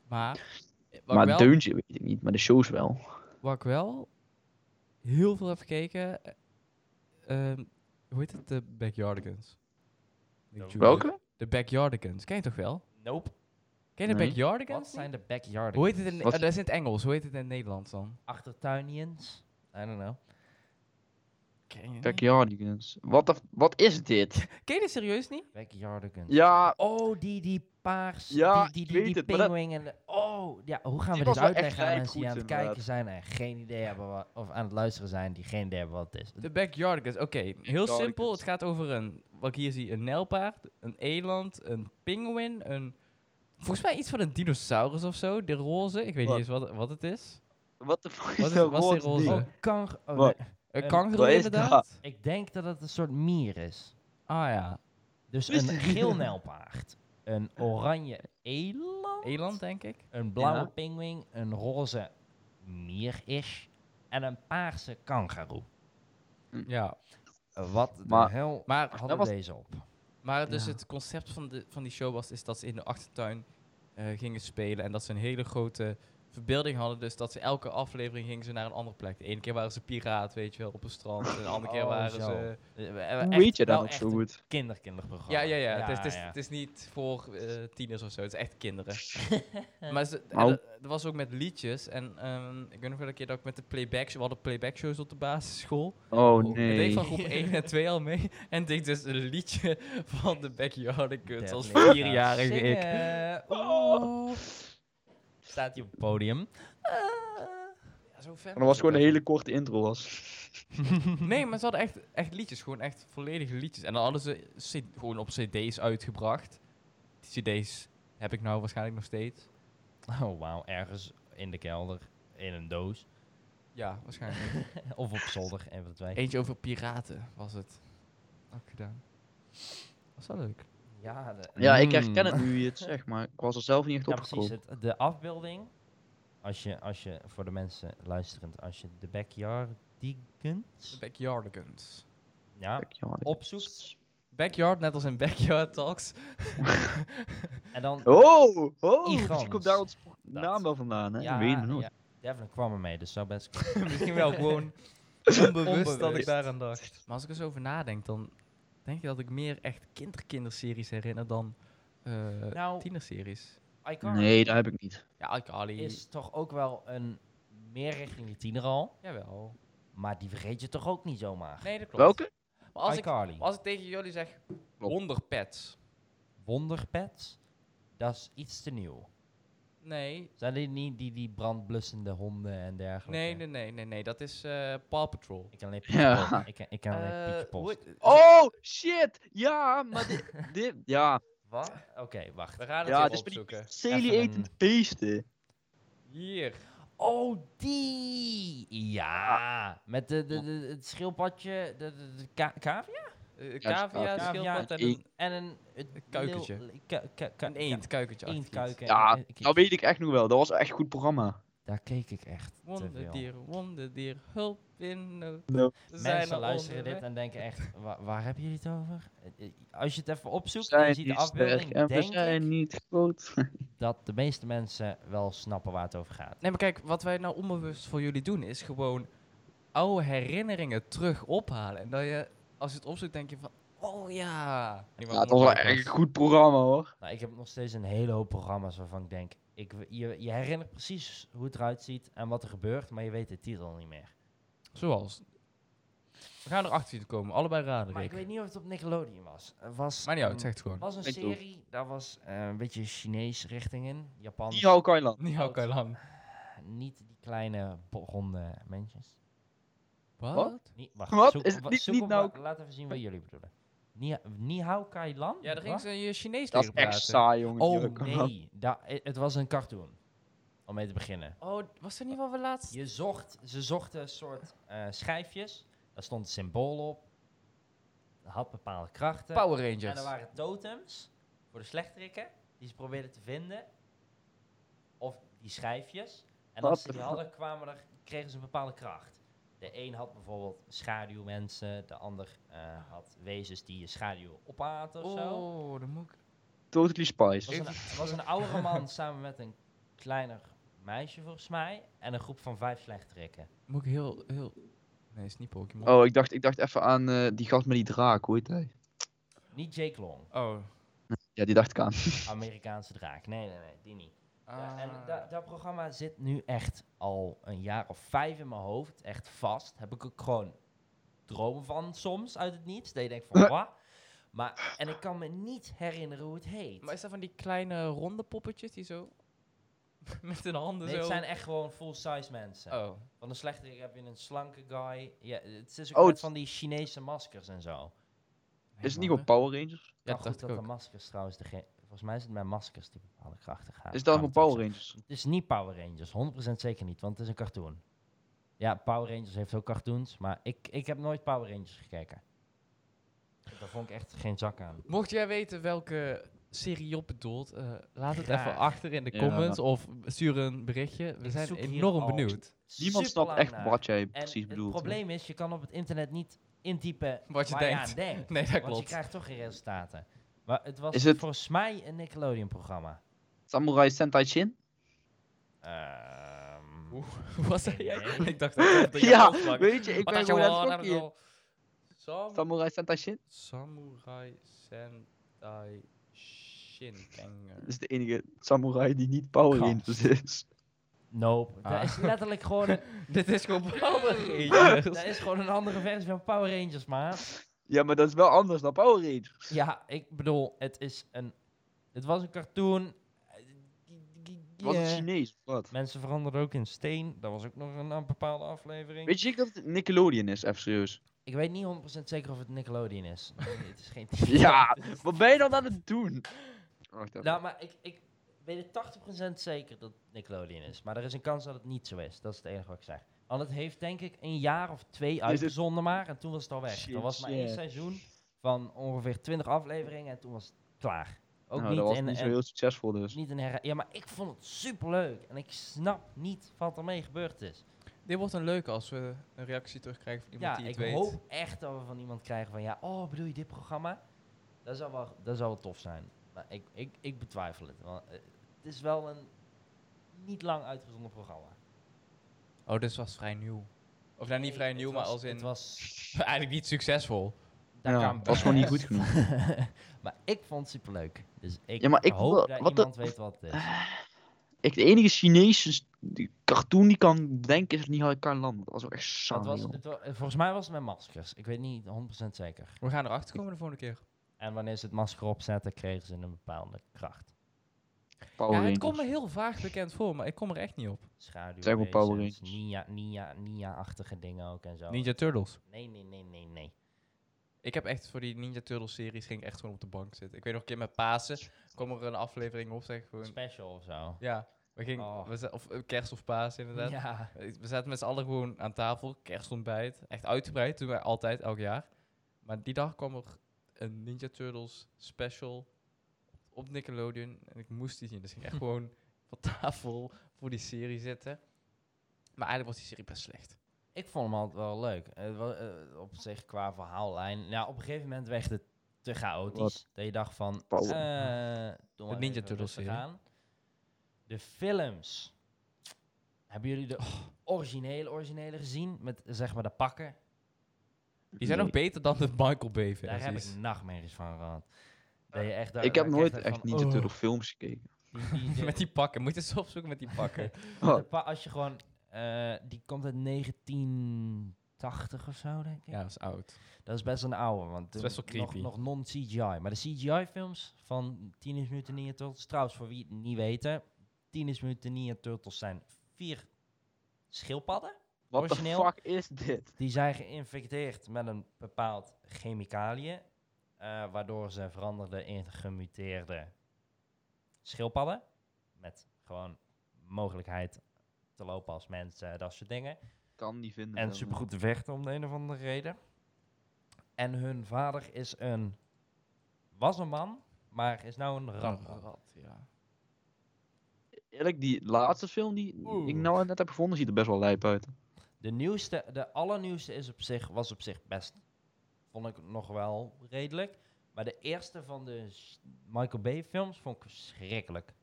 Speaker 1: Maar, eh, wat,
Speaker 3: maar
Speaker 1: ik
Speaker 3: het
Speaker 1: wel,
Speaker 3: deuntje weet ik niet, maar de shows wel.
Speaker 1: wat ik wel heel veel heb gekeken, eh, ehm, hoe heet het? De Backyardigans. De
Speaker 2: Nope.
Speaker 1: Judy.
Speaker 3: Welke?
Speaker 1: De Backyardigans, ken je toch wel?
Speaker 2: Nope.
Speaker 1: Ken je de
Speaker 3: Nee.
Speaker 1: Backyardigans?
Speaker 2: Wat zijn de backyard?
Speaker 1: Hoe heet het in,
Speaker 3: Wat-
Speaker 1: eh, dat is in het Engels, hoe heet het in het Nederlands dan?
Speaker 2: Achtertuinians? I don't know.
Speaker 1: Ken je, niet?
Speaker 3: Backyardigans. Wat, de- wat is dit?
Speaker 1: Ken je dit serieus niet?
Speaker 2: Backyardigans.
Speaker 3: Ja,
Speaker 2: Oh, die, die paars.
Speaker 3: Ja,
Speaker 2: die,
Speaker 3: ik
Speaker 2: die, die,
Speaker 3: weet
Speaker 2: die
Speaker 3: het, maar dat-
Speaker 2: pinguïn en de- Oh, ja, hoe gaan
Speaker 3: Die
Speaker 2: we dit
Speaker 3: was wel echt
Speaker 2: uitleggen aan
Speaker 3: gelijk
Speaker 2: mensen die
Speaker 3: goed,
Speaker 2: aan het
Speaker 3: inderdaad.
Speaker 2: kijken zijn en geen idee hebben wat, of aan het luisteren zijn die geen idee hebben wat het is?
Speaker 1: De backyardigans, oké. Heel
Speaker 3: Backyardigans.
Speaker 1: simpel, het gaat over een, wat ik hier zie, een nijlpaard, een eland, een pinguïn, een... Volgens mij iets van een dinosaurus of zo, de roze. Ik weet
Speaker 3: Wat?
Speaker 1: niet eens wat, wat het is.
Speaker 3: wat de fuck
Speaker 1: Wat
Speaker 3: is
Speaker 1: is-
Speaker 3: dat
Speaker 1: wat is die
Speaker 3: roze
Speaker 1: roze?
Speaker 3: ding?
Speaker 2: Oh, kanker... oh,
Speaker 3: Wat?
Speaker 2: nee.
Speaker 1: Een
Speaker 2: Een-
Speaker 1: kangaroo
Speaker 3: Wat is
Speaker 1: inderdaad.
Speaker 2: Ik denk dat het een soort mier is.
Speaker 1: Ah ja,
Speaker 2: Dus
Speaker 3: Wist
Speaker 2: een
Speaker 3: ik.
Speaker 2: geel nijlpaard, een oranje eland,
Speaker 1: eland denk ik.
Speaker 2: een blauwe
Speaker 3: Ja.
Speaker 2: pinguïn, een roze mier-ish en een paarse kangaroo.
Speaker 1: Ja,
Speaker 2: Eh, Wat
Speaker 3: Maar-
Speaker 2: de hel
Speaker 1: maar,
Speaker 2: hadden
Speaker 3: dat was-
Speaker 2: deze op?
Speaker 1: maar dus
Speaker 3: Ja.
Speaker 1: het concept van, de, van die show was is dat ze in de achtertuin eh, gingen spelen. En dat ze een hele grote verbeelding hadden. Dus dat ze elke aflevering gingen ze naar een andere plek. De ene keer waren ze piraat, weet je wel, op een strand. En de andere keer
Speaker 2: Oh,
Speaker 1: waren
Speaker 2: zo.
Speaker 1: ze...
Speaker 2: Eh, we
Speaker 3: Hoe
Speaker 2: hebben echt
Speaker 3: weet je dat
Speaker 2: wel
Speaker 3: ook
Speaker 2: echt
Speaker 3: zo
Speaker 2: een
Speaker 3: goed?
Speaker 2: Kinderkinderprogramma.
Speaker 1: Ja, ja, ja. het, is, het, is,
Speaker 2: ja.
Speaker 1: het is niet voor eh, tieners of zo. Het is echt kinderen. maar ze, en
Speaker 3: Nou.
Speaker 1: dat, dat was ook met liedjes. En ehm, ik weet nog wel een keer dat ik met de playback... We hadden playback shows op de basisschool.
Speaker 3: Oh
Speaker 1: Ik
Speaker 3: nee.
Speaker 1: deed van groep 1 en 2 al mee. En deed dus een liedje van de Backyardigans als
Speaker 2: Definitely.
Speaker 1: vierjarige ik.
Speaker 2: Zingen.
Speaker 3: Oh.
Speaker 2: Staat hij op het podium?
Speaker 1: Ja, zo ver
Speaker 3: Maar dat was gewoon een hele korte intro was.
Speaker 1: Nee, maar ze hadden echt, echt liedjes. Gewoon echt volledige liedjes. En dan hadden ze c- gewoon op cd's uitgebracht. Die cd's heb ik nou waarschijnlijk nog steeds.
Speaker 2: Oh, wauw. Ergens in de kelder, in een doos.
Speaker 1: Ja, waarschijnlijk.
Speaker 2: of op zolder, en van de twee.
Speaker 1: Eentje over piraten was het. Ook gedaan. Was dat leuk?
Speaker 2: Ja, de-
Speaker 3: Ja, ik
Speaker 1: Hmm.
Speaker 3: herken het nu je het zegt, maar ik was er zelf niet echt
Speaker 2: Ja, precies.
Speaker 3: opgekomen.
Speaker 2: Het, de afbeelding. Als je, als je, voor de mensen luisterend, als je de backyardigans
Speaker 1: Backyardigans.
Speaker 2: ja,
Speaker 3: Backyardigans.
Speaker 2: opzoekt
Speaker 1: Backyard, net als in Backyard Talks.
Speaker 2: en dan...
Speaker 3: Oh, oh,
Speaker 2: Igans.
Speaker 3: misschien komt daar ons
Speaker 2: Dat.
Speaker 3: naam wel vandaan, hè? Dat weet je nooit.
Speaker 2: ja. Devlin kwam ermee, dus zou best kunnen.
Speaker 1: Misschien wel gewoon
Speaker 2: onbewust,
Speaker 1: Onbewust.
Speaker 2: daaraan dacht.
Speaker 1: Maar als ik er zo over nadenk, dan denk je dat ik meer echt kinderkinderseries herinner dan eh
Speaker 2: Nou,
Speaker 1: tienerseries.
Speaker 2: Icarus
Speaker 3: Nee, dat heb ik niet.
Speaker 1: Ja, iCarly.
Speaker 2: is toch ook wel een meer richting de tiener al,
Speaker 1: Jawel.
Speaker 2: maar die vergeet je toch ook niet zomaar.
Speaker 1: Nee, dat klopt.
Speaker 3: Welke?
Speaker 1: Maar als, ik,
Speaker 2: iCarly.
Speaker 1: als ik tegen jullie zeg, wonder pets.
Speaker 2: Wonderpets, dat is iets te nieuw.
Speaker 1: Nee,
Speaker 2: Zijn dit niet die, die brandblussende honden en dergelijke?
Speaker 1: nee, nee, nee, nee, nee. Dat is eh Paw Patrol.
Speaker 2: Ik ken alleen Pietje
Speaker 3: Ja.
Speaker 2: Post. Ik ken, ik ken alleen
Speaker 1: Eh,
Speaker 2: Pietje
Speaker 1: hoe
Speaker 2: Post.
Speaker 1: heet-
Speaker 3: Oh, shit! Ja, maar dit... dit ja,
Speaker 2: Wat? Eh, Oké, wacht.
Speaker 1: We gaan het
Speaker 3: ja
Speaker 1: even
Speaker 3: dit is met
Speaker 1: opzoeken.
Speaker 3: die
Speaker 2: Even een-
Speaker 3: etend beesten.
Speaker 1: Hier.
Speaker 2: Oh, die!
Speaker 3: Ah.
Speaker 2: Ja, met de, de, de, het schildpadje, de, de, de ka- cavia?
Speaker 1: Eh,
Speaker 3: Ja,
Speaker 1: Cavia,
Speaker 2: cavia,
Speaker 1: schildpad en
Speaker 3: een
Speaker 1: een,
Speaker 2: En een... het
Speaker 1: Een kuikentje.
Speaker 2: leel- ku- ku- ku-
Speaker 1: een eend, kuikentje.
Speaker 2: Ja, eendkuik. en-
Speaker 3: Ja, nou,
Speaker 2: en- en-
Speaker 3: Dat weet ik echt nog wel. Dat was echt een goed programma.
Speaker 2: Daar keek ik echt te veel.
Speaker 1: Wonderdier, wonderdier, hulp in nood.
Speaker 3: No.
Speaker 1: Ze zijn
Speaker 2: Mensen
Speaker 1: al
Speaker 2: luisteren dit
Speaker 1: onderweg.
Speaker 2: en denken echt, waar, waar hebben jullie het over? Eh, eh, Als je het even
Speaker 3: We
Speaker 2: opzoekt en je
Speaker 3: zijn
Speaker 2: ziet de
Speaker 3: niet sterk
Speaker 2: afbeelding,
Speaker 3: en we
Speaker 2: denk ik
Speaker 3: zijn niet groot.
Speaker 2: dat de meeste mensen wel snappen waar het over gaat.
Speaker 1: Nee, maar kijk, wat wij nou onbewust voor jullie doen, is gewoon oude herinneringen terug ophalen. En dat je, als je het opzoekt, denk je van, oh ja.
Speaker 3: Ja, dat was wel echt een goed programma hoor.
Speaker 2: Nou, ik heb nog steeds een hele hoop programma's waarvan ik denk, ik, w- je, je herinnert precies hoe het eruit ziet en wat er gebeurt, maar je weet de titel niet meer.
Speaker 1: Zoals. We gaan erachter zien te komen, allebei raden,
Speaker 2: Maar ik
Speaker 1: Rick.
Speaker 2: weet niet of het op Nickelodeon was. Het was
Speaker 1: Maar niet uit,
Speaker 2: een-
Speaker 1: zeg het gewoon.
Speaker 2: was een
Speaker 3: Ik doe.
Speaker 2: serie, daar was eh, een beetje Chinees richting in, Japan.
Speaker 3: Die hou Kailan.
Speaker 1: Niet eh, hou ik lang.
Speaker 2: Niet die kleine bo- ronde mensjes.
Speaker 1: Wat?
Speaker 2: Niet, wacht,
Speaker 3: Wat?
Speaker 2: Zoek,
Speaker 3: Is het
Speaker 2: wa-
Speaker 3: niet-
Speaker 2: zoek
Speaker 3: niet
Speaker 2: op
Speaker 3: nou-
Speaker 2: wat- Laat even zien wat jullie bedoelen. Ni- Nihao Kai Lan?
Speaker 1: Ja, daar ging
Speaker 2: Wat?
Speaker 1: ze je Chinees
Speaker 3: Dat is
Speaker 1: leren
Speaker 3: echt
Speaker 1: praten.
Speaker 3: saai jongen. die
Speaker 2: Oh
Speaker 3: ook allemaal.
Speaker 2: nee, da- eh, het was een cartoon. Om mee te beginnen.
Speaker 1: Oh, was er niet wel weer laatst?
Speaker 2: Je zocht, ze zochten een soort eh, schijfjes. Daar stond een symbool op. Dat had bepaalde krachten.
Speaker 1: Power
Speaker 2: En er
Speaker 1: Rangers.
Speaker 2: waren totems voor de slechterikken die ze probeerden te vinden. Of die schijfjes. En
Speaker 3: What
Speaker 2: als ze
Speaker 3: the
Speaker 2: die
Speaker 3: fu-
Speaker 2: hadden, kwamen er, kregen ze een bepaalde kracht. De een had bijvoorbeeld schaduwmensen, de ander eh, had wezens die je schaduw opaten of zo.
Speaker 1: Oh, dan moet ik...
Speaker 3: Totally Spice.
Speaker 2: Het was, een- het was een oudere man samen met een kleiner meisje volgens mij. En een groep van vijf slechterikken.
Speaker 1: Moet ik heel, heel... Nee, is niet Pokémon.
Speaker 3: Oh, ik dacht, ik dacht even aan eh, die gast met die draak, hoe heet hij?
Speaker 2: Niet Jake Long,
Speaker 1: Oh.
Speaker 3: Ja, die dacht ik aan.
Speaker 2: Amerikaanse draak. Nee, nee, nee, die niet. Ja, en
Speaker 1: Ah.
Speaker 2: da- dat programma zit nu echt al een jaar of vijf in mijn hoofd. Echt vast. Heb ik ook gewoon dromen van soms uit het niets. Dat je denkt van, wat? Maar, en ik kan me niet herinneren hoe het heet.
Speaker 1: Maar is dat van die kleine ronde poppetjes die zo... met hun handen
Speaker 2: Nee,
Speaker 1: zo...
Speaker 2: het zijn echt gewoon full-size mensen.
Speaker 1: Oh.
Speaker 2: Van de slechterik heb je een slanke guy. Ja, het is ook
Speaker 3: Oh,
Speaker 2: met
Speaker 3: het-
Speaker 2: van die Chinese maskers en zo.
Speaker 3: Is het niet op Power Rangers?
Speaker 1: Ja,
Speaker 2: Ja,
Speaker 1: dat
Speaker 2: goed dat
Speaker 1: dacht ik
Speaker 2: de
Speaker 1: ook.
Speaker 2: maskers trouwens... dege- Volgens mij is het mijn maskers die bepaalde krachten gaan.
Speaker 3: Is dat voor
Speaker 2: krachten
Speaker 3: Power
Speaker 2: zijn.
Speaker 3: Rangers?
Speaker 2: Het is niet Power Rangers, 100% zeker niet, want het is een cartoon. Ja, Power Rangers heeft ook cartoons, maar ik, ik heb nooit Power Rangers gekeken. Daar vond ik echt geen zak aan.
Speaker 1: Mocht jij weten welke serie Job bedoelt, eh, laat het
Speaker 2: Graag.
Speaker 1: even achter in de
Speaker 3: Ja.
Speaker 1: comments of stuur een berichtje. We
Speaker 2: Ik
Speaker 1: zijn
Speaker 2: zoek hier
Speaker 1: enorm
Speaker 2: al
Speaker 1: benieuwd
Speaker 3: Niemand snapt
Speaker 2: Superlang
Speaker 3: echt
Speaker 2: naar.
Speaker 3: wat jij
Speaker 2: En
Speaker 3: precies bedoelt.
Speaker 2: Het probleem is, je kan op het internet niet intypen
Speaker 1: wat je
Speaker 2: waar
Speaker 1: denkt.
Speaker 2: je aan denkt.
Speaker 1: Nee, dat
Speaker 2: Want je
Speaker 1: klopt.
Speaker 2: krijgt toch geen resultaten. Maar het was
Speaker 3: Is het-
Speaker 2: volgens mij een Nickelodeon-programma.
Speaker 3: Samurai Sentai Shin?
Speaker 2: Ehm,
Speaker 1: Hoe was dat? Ja,
Speaker 2: Nee.
Speaker 1: ik dacht dat dat
Speaker 3: Ja,
Speaker 1: je opsprak.
Speaker 3: Weet je, ik
Speaker 1: Wat
Speaker 3: ben
Speaker 1: had je
Speaker 3: gewoon
Speaker 1: wel
Speaker 3: aan
Speaker 1: aan
Speaker 3: het gokken hier.
Speaker 1: al- Sam-
Speaker 3: Samurai Sentai Shin?
Speaker 1: Samurai Sentai Shinkenger.
Speaker 3: Dat is de enige samurai die niet Power
Speaker 1: Gast.
Speaker 3: Rangers is.
Speaker 2: nope.
Speaker 1: Ah.
Speaker 2: Dat is letterlijk gewoon een,
Speaker 1: Dit is gewoon Power
Speaker 2: dat is gewoon een andere versie van Power Rangers, maar...
Speaker 3: Ja, maar dat is wel anders dan Power Rangers.
Speaker 2: Ja, ik bedoel, het is een. Het was een cartoon. eh, g- g- g-
Speaker 3: Was het
Speaker 2: eh,
Speaker 3: Chinees of wat?
Speaker 2: Mensen veranderden ook in steen. Dat was ook nog een, een bepaalde aflevering.
Speaker 3: Weet je zeker dat het Nickelodeon is, even serieus?
Speaker 2: ik weet niet 100% zeker of het Nickelodeon is. Nee, het is geen
Speaker 3: Ja, wat ben je dan aan het doen? Wacht even.
Speaker 2: nou, maar ik, ik weet het 80% zeker dat het Nickelodeon is. Maar er is een kans dat het niet zo is. Dat is het enige wat ik zeg. Want het heeft denk ik een jaar of twee
Speaker 3: het-
Speaker 2: uitgezonden maar. En toen was het al weg.
Speaker 3: Shit,
Speaker 2: Er was maar één
Speaker 3: ja.
Speaker 2: seizoen van ongeveer 20 afleveringen. En toen was het klaar. Ook
Speaker 3: Nou,
Speaker 2: niet
Speaker 3: dat was
Speaker 2: in,
Speaker 3: niet zo
Speaker 2: en-
Speaker 3: heel succesvol dus.
Speaker 2: Niet een herha- Ja, maar ik vond het superleuk. En ik snap niet wat ermee gebeurd is.
Speaker 1: Dit wordt een leuke als we een reactie terugkrijgen van iemand
Speaker 2: ja,
Speaker 1: die
Speaker 2: ik
Speaker 1: het weet.
Speaker 2: hoop echt dat we van iemand krijgen van... Ja, oh, bedoel je dit programma? Dat zou wel, dat zou wel tof zijn. Maar ik, ik, ik betwijfel het. Want eh, het is wel een niet lang uitgezonden programma.
Speaker 1: Oh, dit was vrij nieuw. Of nou, niet vrij
Speaker 2: Het
Speaker 1: nieuw,
Speaker 2: was-
Speaker 1: maar als in...
Speaker 2: Het was...
Speaker 1: eigenlijk niet succesvol.
Speaker 2: daar
Speaker 3: Ja,
Speaker 2: kan
Speaker 3: het was gewoon niet goed genoeg.
Speaker 2: maar ik vond het superleuk. Dus ik,
Speaker 3: Ja, maar ik
Speaker 2: hoop
Speaker 3: wil-
Speaker 2: dat
Speaker 3: wat de-
Speaker 2: iemand weet wat het is.
Speaker 3: Ik, de enige Chinese s- die cartoon die kan denken is Nihal Karlan. Dat was ook echt saai,
Speaker 2: Dat was,
Speaker 3: Ah, joh.
Speaker 2: het wa- eh, volgens mij was het met maskers. Ik weet niet 100% zeker.
Speaker 1: We gaan erachter komen de volgende keer.
Speaker 2: En wanneer ze het masker opzetten, kregen ze een bepaalde kracht.
Speaker 3: Power
Speaker 1: Ja, het
Speaker 3: Rangers.
Speaker 1: komt me heel vaag bekend voor, maar ik kom er echt niet op.
Speaker 2: Schaduw.
Speaker 3: Zeg maar Power Rangers.
Speaker 2: Nia, Nia, Nia-achtige dingen ook en zo.
Speaker 1: Oh. Ninja Turtles.
Speaker 2: Nee, nee, nee, nee, nee.
Speaker 1: Ik heb echt voor die Ninja Turtles series ging ik echt gewoon op de bank zitten. Ik weet nog een keer met Pasen, kwam er een aflevering op, zeg gewoon.
Speaker 2: Special of zo.
Speaker 1: Ja, We gingen,
Speaker 2: Oh.
Speaker 1: we za- of eh, kerst of paas inderdaad.
Speaker 2: Ja.
Speaker 1: Eh, We zaten met z'n allen gewoon aan tafel, kerstontbijt. Echt uitgebreid, doen wij altijd, elk jaar. Maar die dag kwam er een Ninja Turtles special op Nickelodeon. En ik moest die zien, dus ik ging echt gewoon van tafel voor die serie zitten. Maar eigenlijk was die serie best slecht.
Speaker 2: Ik vond hem altijd wel leuk. Het wa- eh, op zich qua verhaallijn. Nou, op een gegeven moment werd het te chaotisch.
Speaker 3: Wat?
Speaker 2: Dat je dacht van... eh
Speaker 3: Pauw.
Speaker 2: doe maar
Speaker 1: Ninja
Speaker 2: even
Speaker 1: Turtles
Speaker 2: rustig
Speaker 1: serie.
Speaker 2: aan. De films. Hebben jullie de
Speaker 1: Oh.
Speaker 2: originele, originele gezien? Met zeg maar de pakken?
Speaker 1: Die zijn nog beter dan de Michael Bay
Speaker 2: Daar heb
Speaker 1: versies.
Speaker 2: ik nachtmerries van gehad. Dat je echt, daar-
Speaker 3: Eh, Ik
Speaker 2: daar
Speaker 3: heb
Speaker 2: kreeg
Speaker 3: nooit
Speaker 2: dat
Speaker 3: echt
Speaker 2: van,
Speaker 3: Ninja
Speaker 2: oh,
Speaker 3: Turtle films gekeken.
Speaker 2: die- die-
Speaker 1: Met die pakken, moet je eens opzoeken met die pakken.
Speaker 3: Oh,
Speaker 2: de pa- als je gewoon... eh, die komt uit 1980 of zo, denk ik.
Speaker 1: ja, dat is oud.
Speaker 2: Dat is best een oude, want
Speaker 1: is best wel
Speaker 2: toen nog-
Speaker 1: creepy.
Speaker 2: nog, non-CGI. Maar de CGI-films van Teenage Mutant Ninja Turtles, trouwens, voor wie het niet weten, Teenage Mutant Ninja Turtles zijn vier schildpadden.
Speaker 3: What the
Speaker 2: origineel.
Speaker 3: fuck is dit?
Speaker 2: Die zijn geïnfecteerd met een bepaald chemicaliën, eh, waardoor ze veranderden in gemuteerde schildpadden. Met gewoon mogelijkheid te lopen als mensen, eh, dat soort dingen.
Speaker 3: Kan niet vinden.
Speaker 2: En
Speaker 3: dan,
Speaker 2: supergoed te vechten om de een of andere reden. En hun vader is een... Was een man, maar is nou een
Speaker 1: Een
Speaker 2: ramp.
Speaker 1: rat, ja.
Speaker 3: eh, Eerlijk, die laatste film die
Speaker 1: Oeh.
Speaker 3: ik nou net heb gevonden, ziet er best wel lijp uit.
Speaker 2: De nieuwste, de allernieuwste is op zich, was op zich best... Vond ik nog wel redelijk. Maar de eerste van de s- Michael Bay films vond ik verschrikkelijk.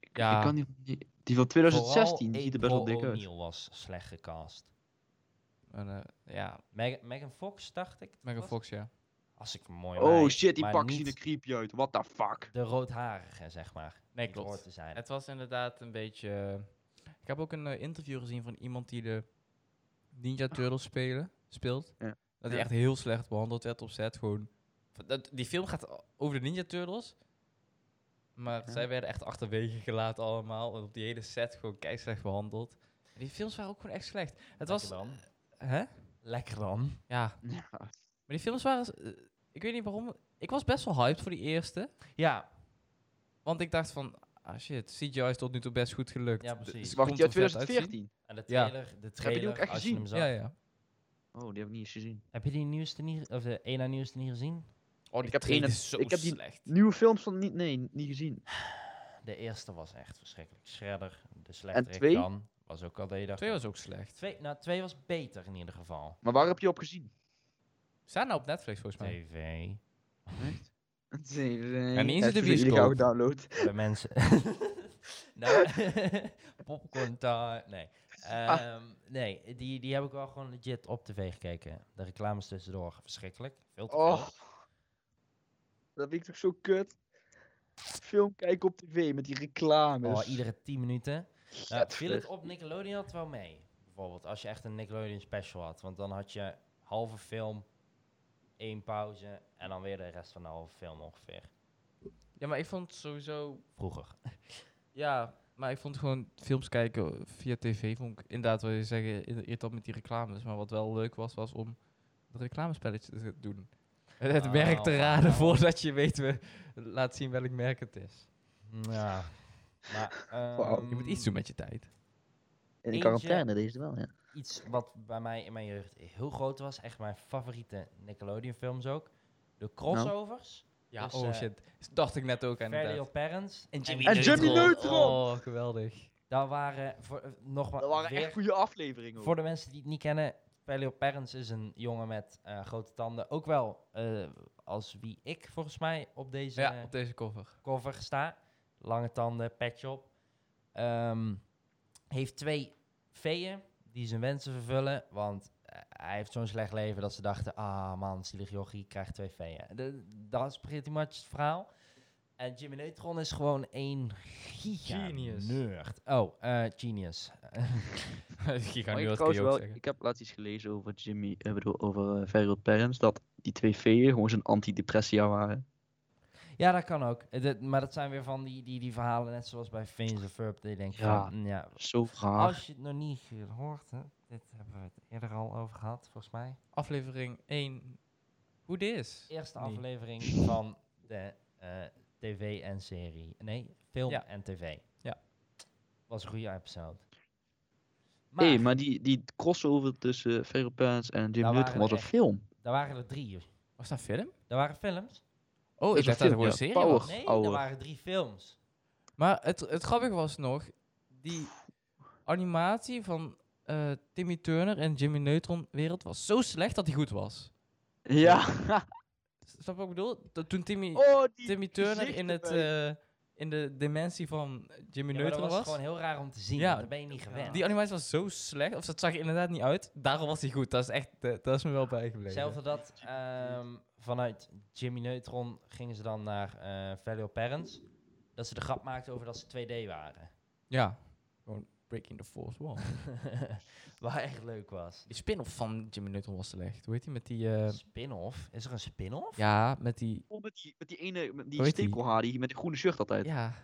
Speaker 3: Ik,
Speaker 1: Ja.
Speaker 3: ik kan niet, die, die van 2016 die ziet er best wel dik uit.
Speaker 2: O'Neill was slecht gecast.
Speaker 1: En, eh, ja,
Speaker 2: Meg- Megan Fox, dacht ik. dat
Speaker 1: Megan
Speaker 2: was?
Speaker 1: Fox, ja.
Speaker 2: Als ik mooi
Speaker 3: Oh shit, die pakken zien
Speaker 2: niet
Speaker 3: er creepy uit. What the fuck?
Speaker 2: De roodharige, zeg maar.
Speaker 1: Nee,
Speaker 2: die het
Speaker 1: klopt.
Speaker 2: hoort te zijn.
Speaker 1: Het was inderdaad een beetje. eh, Ik heb ook een eh, interview gezien van iemand die de
Speaker 2: Ah.
Speaker 1: Ninja Turtles spelen, speelt.
Speaker 3: Ja.
Speaker 1: Dat hij
Speaker 3: Ja.
Speaker 1: echt heel slecht behandeld werd op set. Gewoon. v- Dat, die film gaat o- over de Ninja Turtles. Maar
Speaker 3: Ja.
Speaker 1: zij werden echt achterwege gelaten allemaal. En op die hele set gewoon keislecht behandeld. En die films waren ook gewoon echt slecht. Het was...
Speaker 2: Lekker dan.
Speaker 1: Hè?
Speaker 2: Lekker dan.
Speaker 1: Ja. Maar
Speaker 3: Ja,
Speaker 1: die films waren... s- eh, Ik weet niet waarom... Ik was best wel hyped voor die eerste.
Speaker 2: Ja,
Speaker 1: Want ik dacht van... Ah shit, CGI is tot nu toe best goed gelukt.
Speaker 2: Ja,
Speaker 1: De-
Speaker 2: precies.
Speaker 1: ze
Speaker 3: Dus wacht,
Speaker 1: komt
Speaker 3: die uit
Speaker 1: er vet uitzien.
Speaker 3: 2014?
Speaker 2: en de
Speaker 1: Ja.
Speaker 2: trailer, de
Speaker 3: die ook
Speaker 2: trailer, als
Speaker 3: echt
Speaker 2: je
Speaker 3: gezien?
Speaker 2: hem zag.
Speaker 1: Ja, ja.
Speaker 3: Oh, die heb ik niet eens gezien.
Speaker 2: Heb je die nieuwste niet, of de ena nieuwste niet gezien?
Speaker 1: Oh,
Speaker 3: Ik heb één
Speaker 1: trailer
Speaker 3: en- ik heb die-
Speaker 1: slecht.
Speaker 3: Nieuwe films van niet, nee, niet gezien.
Speaker 2: De eerste was echt verschrikkelijk. Shredder, de
Speaker 3: twee?
Speaker 2: slechterik dan. Was ook al dat je dacht...
Speaker 1: Twee was ook slecht.
Speaker 2: Twee, nou, twee was beter in ieder geval.
Speaker 3: Maar waar heb je op gezien?
Speaker 1: Staan nou op Netflix volgens mij.
Speaker 2: TV.
Speaker 3: Echt? Nee, nee.
Speaker 1: En niet eens in de
Speaker 3: gauw
Speaker 1: bioscoop.
Speaker 3: download.
Speaker 2: Bij mensen... nou, popcorn time. Nee.
Speaker 3: Ah.
Speaker 2: Ehm, nee, die, die heb ik wel gewoon legit op tv gekeken. De reclames tussendoor, verschrikkelijk. Veel te veel.
Speaker 3: Oh. Dat vind ik toch zo kut. Film kijken op tv met die reclames.
Speaker 2: Oh, iedere 10 minuten. Nou,
Speaker 3: Gadver.
Speaker 2: viel
Speaker 1: eh,
Speaker 2: het op Nickelodeon had wel mee. Bijvoorbeeld als je echt een Nickelodeon special had. Want dan had je halve film, één pauze en dan weer de rest van de halve film ongeveer.
Speaker 1: Ja, maar ik vond sowieso...
Speaker 2: Vroeger.
Speaker 1: Ja, maar ik vond gewoon films kijken via tv... vond ik inderdaad, wil je zeggen, irritant met die reclames. Maar wat wel leuk was, was om het reclamespelletje te doen. Het, het
Speaker 2: Oh,
Speaker 1: merk te raden
Speaker 2: oh.
Speaker 1: voordat je weet... We, laat zien welk merk het is.
Speaker 2: Ja. Maar,
Speaker 3: Wauw.
Speaker 1: Je moet
Speaker 2: ehm,
Speaker 1: iets doen met je tijd.
Speaker 3: In de
Speaker 2: eentje-
Speaker 3: quarantaine deze wel, ja.
Speaker 2: Iets wat bij mij in mijn jeugd heel groot was. Echt mijn favoriete Nickelodeon films ook. De crossovers.
Speaker 3: Nou.
Speaker 1: Ja,
Speaker 2: Dus,
Speaker 1: oh
Speaker 2: eh,
Speaker 1: shit. Dacht ik net ook aan
Speaker 2: Fairly Odd Parents.
Speaker 3: En Jimmy Neutron.
Speaker 1: Oh, geweldig.
Speaker 2: Daar waren, voor, eh, nog maar
Speaker 3: Dat waren
Speaker 2: weer
Speaker 3: echt goede afleveringen.
Speaker 2: Voor de mensen die het niet kennen, Paleo Parents is een jongen met eh, grote tanden. Ook wel eh, als wie ik volgens mij op deze
Speaker 1: Ja,
Speaker 2: eh,
Speaker 1: op deze cover.
Speaker 2: cover sta. Lange tanden, petje op. Ehm, heeft twee veeën die zijn wensen vervullen. Want eh, hij heeft zo'n slecht leven dat ze dachten... Ah man, zielig jochie, krijgt twee veeën. De- Dat is pretty much het verhaal. En Jimmy Neutron is gewoon één giga
Speaker 1: Genius.
Speaker 2: nerd. Oh, eh, genius.
Speaker 1: Die gaan
Speaker 3: Maar
Speaker 1: nu
Speaker 3: ik,
Speaker 1: wat
Speaker 3: trouwens
Speaker 1: ook
Speaker 3: wel,
Speaker 1: zeggen.
Speaker 3: ik heb laatst iets gelezen over Jimmy, eh, bedoel, over eh Fairy Old Parents, dat die twee feeën gewoon zijn antidepressia waren.
Speaker 2: Ja, dat kan ook. Eh, dat- maar dat zijn weer van die, die, die verhalen, net zoals bij Fins of Verb. Die denk
Speaker 3: Ja.
Speaker 2: van, mm, ja.
Speaker 3: Zo
Speaker 1: Ah.
Speaker 3: raar.
Speaker 2: Als je het nog niet gehoord hebt, dit hebben we het eerder al over gehad, volgens mij.
Speaker 1: Aflevering 1. Hoe dit is.
Speaker 2: Eerste
Speaker 1: Nee.
Speaker 2: aflevering van de eh, tv en serie. Nee, film
Speaker 1: Ja.
Speaker 2: en tv.
Speaker 1: Ja.
Speaker 2: Was een goede episode.
Speaker 3: Maar,
Speaker 2: Maar,
Speaker 3: hey, maar die, die crossover tussen Ferro Pants en Jim
Speaker 2: Daar
Speaker 1: Nou,
Speaker 3: Neutron
Speaker 2: waren
Speaker 3: was een
Speaker 2: echt-
Speaker 3: film.
Speaker 2: daar waren er drie.
Speaker 1: Was dat film?
Speaker 2: Daar waren films.
Speaker 1: Oh,
Speaker 3: is
Speaker 1: ik
Speaker 3: een
Speaker 1: dacht dat het
Speaker 3: film,
Speaker 1: gewoon een
Speaker 3: ja.
Speaker 1: serie
Speaker 3: Power.
Speaker 1: was.
Speaker 3: Och,
Speaker 2: Nee,
Speaker 3: ouwe.
Speaker 2: daar waren drie films.
Speaker 1: Maar het, het grappige was nog, die animatie van eh, Timmy Turner en Jimmy Neutron wereld was zo slecht dat die goed was.
Speaker 3: Ja.
Speaker 1: Snap je wat ik bedoel? Dat toen Timmy,
Speaker 3: Oh, die
Speaker 1: Timmy Turner
Speaker 3: gezichten
Speaker 1: in, het,
Speaker 3: bij-
Speaker 1: eh, in de dimensie van Jimmy
Speaker 2: Ja, maar dat
Speaker 1: Neutron
Speaker 2: was,
Speaker 1: was,
Speaker 2: gewoon heel raar om te zien.
Speaker 1: Ja,
Speaker 2: want daar ben je niet gewend.
Speaker 1: die animatie was zo slecht, of dat zag er inderdaad niet uit. Daarom was die goed, dat is echt, eh, dat is me wel bijgebleven.
Speaker 2: Hetzelfde dat ehm, vanuit Jimmy Neutron gingen ze dan naar eh Valley of Parents. Dat ze de grap maakten over dat ze 2D waren.
Speaker 1: Ja, gewoon Breaking the Fourth Wall.
Speaker 2: Wat echt leuk was.
Speaker 1: Die spin-off van Jimmy Neutron was slecht. Hoe heet die met die... eh,
Speaker 2: Spin-off? Is er een spin-off?
Speaker 1: ja, met die...
Speaker 3: Oh, met die, met die ene, met die
Speaker 1: Hoe heet die?
Speaker 3: stekelhaar, die met die groene shirt altijd.
Speaker 1: Ja,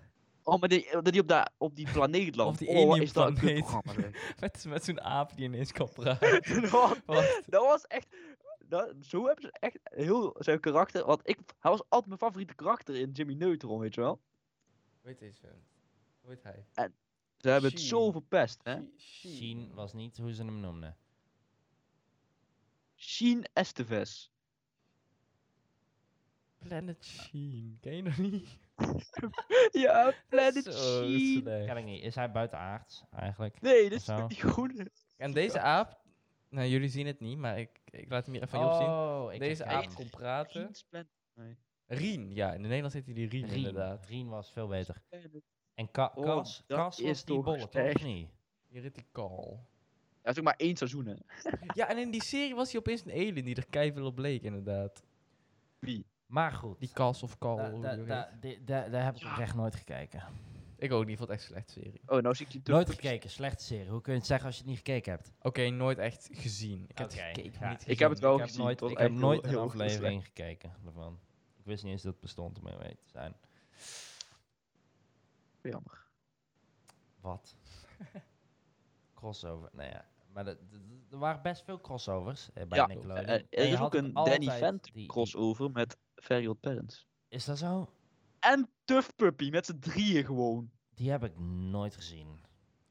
Speaker 3: Oh, maar die, dat die op, daar op die planeet landt.
Speaker 1: die
Speaker 3: oh, wat
Speaker 1: alien
Speaker 3: is dat een
Speaker 1: planeet.
Speaker 3: kutprogramma, zeg.
Speaker 1: met, met zo'n aap die ineens kan praten.
Speaker 3: Oh,
Speaker 1: Wat?
Speaker 3: dat was echt... Dat, zo hebben ze echt heel zijn karakter... Want ik, hij was altijd mijn favoriete karakter in Jimmy Neutron, weet je wel.
Speaker 1: Weet deze. Hoe heet hij?
Speaker 3: Ze hebben het
Speaker 1: Sheen.
Speaker 3: zo verpest, hè.
Speaker 2: Sheen was niet hoe ze hem noemden.
Speaker 3: Sheen Esteves.
Speaker 1: Planet Sheen. Ken je nog niet?
Speaker 3: ja, Planet
Speaker 1: Zo
Speaker 3: Sheen.
Speaker 1: slecht.
Speaker 2: Ken ik niet. Is hij buitenaards eigenlijk?
Speaker 3: Nee, dit is
Speaker 2: Zo.
Speaker 3: toch die groene.
Speaker 1: En deze aap... Nou, jullie zien het niet, maar ik, ik laat hem hier even aan je opzien.
Speaker 2: Oh, ik
Speaker 1: Deze
Speaker 2: herken
Speaker 1: aap
Speaker 2: hem.
Speaker 1: kon praten.
Speaker 3: Sheen's Planet
Speaker 1: Rien, ja. In het Nederlands heet hij die Rien,
Speaker 2: Rien.
Speaker 1: inderdaad.
Speaker 2: Rien was veel beter.
Speaker 3: Planet.
Speaker 2: En Ka
Speaker 3: Oh,
Speaker 2: Kas,
Speaker 3: dat
Speaker 2: Kas was
Speaker 3: is
Speaker 2: die
Speaker 3: toch
Speaker 2: bolle, toch? Of
Speaker 3: echt-
Speaker 2: niet?
Speaker 1: Hier heet hij Carl.
Speaker 3: Ja, is ook maar één seizoen, hè.
Speaker 1: Ja, en in die serie was hij opeens een alien die er keiveel op leek, inderdaad.
Speaker 3: Wie?
Speaker 2: Maar goed.
Speaker 1: Die Cas of Carl.
Speaker 2: Da-
Speaker 3: Oh,
Speaker 1: hoe
Speaker 2: da-
Speaker 1: die ook
Speaker 2: da-
Speaker 1: heet.
Speaker 2: di- da- Daar heb ik echt nooit gekeken.
Speaker 1: Ik ook niet, vond het echt een slechte serie.
Speaker 3: Oh, nou zie ik die...
Speaker 2: Nooit gekeken, slechte serie. Hoe kun je het zeggen als je het niet gekeken hebt?
Speaker 1: Oké, nooit echt gezien. Ik heb
Speaker 2: Oké,
Speaker 1: het gekeken,
Speaker 2: ja.
Speaker 1: maar niet gezien.
Speaker 3: Ik heb het wel
Speaker 2: ik heb
Speaker 3: gezien.
Speaker 2: nooit,
Speaker 3: het was
Speaker 2: ik heb
Speaker 3: echt
Speaker 2: nooit
Speaker 3: heel-
Speaker 2: een
Speaker 3: heel slecht.
Speaker 2: aflevering gekeken ervan. Ik wist niet eens dat het bestond om mee te zijn.
Speaker 3: Jammer.
Speaker 2: Wat? crossover. Nou ja, maar dat- dat- dat- er waren best veel crossovers eh, bij
Speaker 3: Ja,
Speaker 2: Nickelodeon.
Speaker 3: Eh,
Speaker 2: En
Speaker 3: er
Speaker 2: je
Speaker 3: is
Speaker 2: had
Speaker 3: ook een
Speaker 2: altijd
Speaker 3: Danny Vent
Speaker 2: die- die-
Speaker 3: crossover met Very Odd Parents.
Speaker 2: Is dat zo?
Speaker 3: En Tough Puppy met z'n drieën gewoon.
Speaker 2: Die heb ik nooit gezien.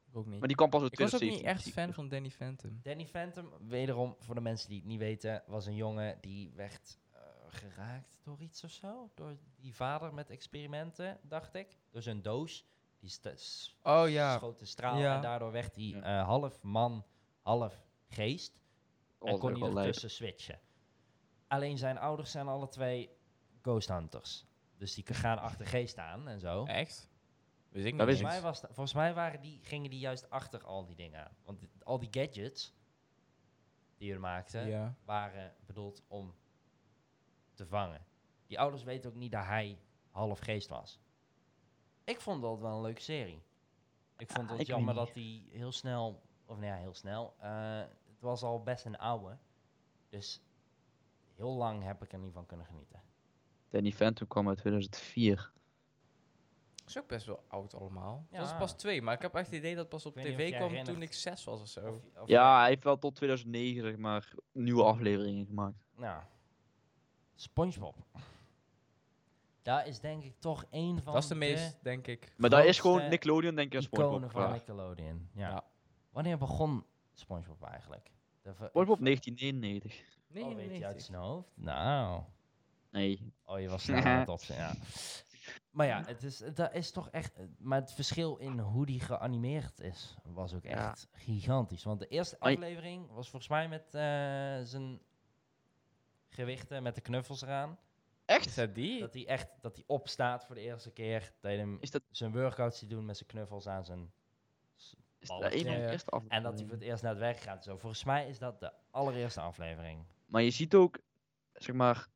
Speaker 1: Ik ook niet.
Speaker 3: Maar die kwam pas uit
Speaker 1: ik was ook niet
Speaker 3: 2017.
Speaker 1: echt fan van Danny Phantom.
Speaker 2: Danny Phantom, wederom voor de mensen die het niet weten, was een jongen die werd eh, geraakt door iets of zo. Door die vader met experimenten, dacht ik. Door zijn doos. Die sta- s-
Speaker 1: Oh ja.
Speaker 2: schoot een straal
Speaker 1: Ja.
Speaker 2: en daardoor werd hij
Speaker 3: Ja.
Speaker 2: eh, half man, half geest.
Speaker 3: Oh,
Speaker 2: en
Speaker 3: dat
Speaker 2: kon
Speaker 3: is
Speaker 2: hij
Speaker 3: wel lijp.
Speaker 2: ertussen switchen. Alleen zijn ouders zijn alle twee ghost hunters. Dus die gaan achter geest aan en zo.
Speaker 1: Echt? Wist ik
Speaker 3: Dat
Speaker 1: niet.
Speaker 2: Volgens
Speaker 3: wist ik.
Speaker 1: eens.
Speaker 2: mij, was da- volgens mij waren die, gingen die juist achter al die dingen aan. Want dit- al die gadgets die we maakten,
Speaker 1: Ja.
Speaker 2: waren bedoeld om te vangen. Die ouders weten ook niet dat hij half geest was. Ik vond dat wel een leuke serie. Ik vond
Speaker 3: ik
Speaker 2: het
Speaker 3: weet
Speaker 2: jammer
Speaker 3: niet.
Speaker 2: dat hij heel snel, of nou ja, heel snel, eh, het was al best een oude. Dus heel lang heb ik er niet van kunnen genieten.
Speaker 3: Danny Phantom kwam uit 2004.
Speaker 1: is ook best wel oud allemaal.
Speaker 2: Ja.
Speaker 1: Dat is pas twee, maar ik heb echt het idee dat pas op
Speaker 2: Ik weet niet
Speaker 1: tv
Speaker 2: of jij
Speaker 1: kwam toen
Speaker 2: herinnert.
Speaker 1: ik zes was of zo.
Speaker 2: Of- of-
Speaker 3: Ja, hij heeft wel tot 2009 zeg maar nieuwe afleveringen gemaakt.
Speaker 2: Nou, SpongeBob. Daar is denk ik toch één van
Speaker 1: dat is de meest, denk ik.
Speaker 3: Maar dat is gewoon
Speaker 2: Grootste
Speaker 3: Nickelodeon denk ik aan
Speaker 2: iconen
Speaker 3: SpongeBob.
Speaker 2: van
Speaker 3: klaar.
Speaker 2: Nickelodeon. Ja.
Speaker 1: Ja.
Speaker 2: Wanneer begon SpongeBob eigenlijk? De ver-
Speaker 3: SpongeBob 1991.
Speaker 1: Nee,
Speaker 2: oh,
Speaker 1: nee,
Speaker 2: weet
Speaker 1: nee.
Speaker 2: je uit zijn hoofd? Nou.
Speaker 3: Nee.
Speaker 2: Oh, je was snel aan het opzien, ja. Maar ja, het is, dat is toch echt... eh, Maar het verschil in hoe die geanimeerd is, was ook
Speaker 3: Ja.
Speaker 2: echt gigantisch. Want de eerste
Speaker 3: Maar je-
Speaker 2: aflevering was volgens mij met eh, zijn gewichten, met de knuffels eraan.
Speaker 1: Is
Speaker 3: Echt?
Speaker 1: dat die?
Speaker 2: Dat hij echt dat hij opstaat voor de eerste keer. Dat hij hem
Speaker 3: Is dat,
Speaker 2: zijn workouts die doen met zijn knuffels aan zijn...
Speaker 3: is dat een van
Speaker 1: Ja,
Speaker 3: de
Speaker 1: ja.
Speaker 3: eerste afleveringen?
Speaker 2: En dat hij voor het eerst naar het werk gaat. Zo, volgens mij is dat de allereerste aflevering.
Speaker 3: Maar je ziet ook, zeg maar,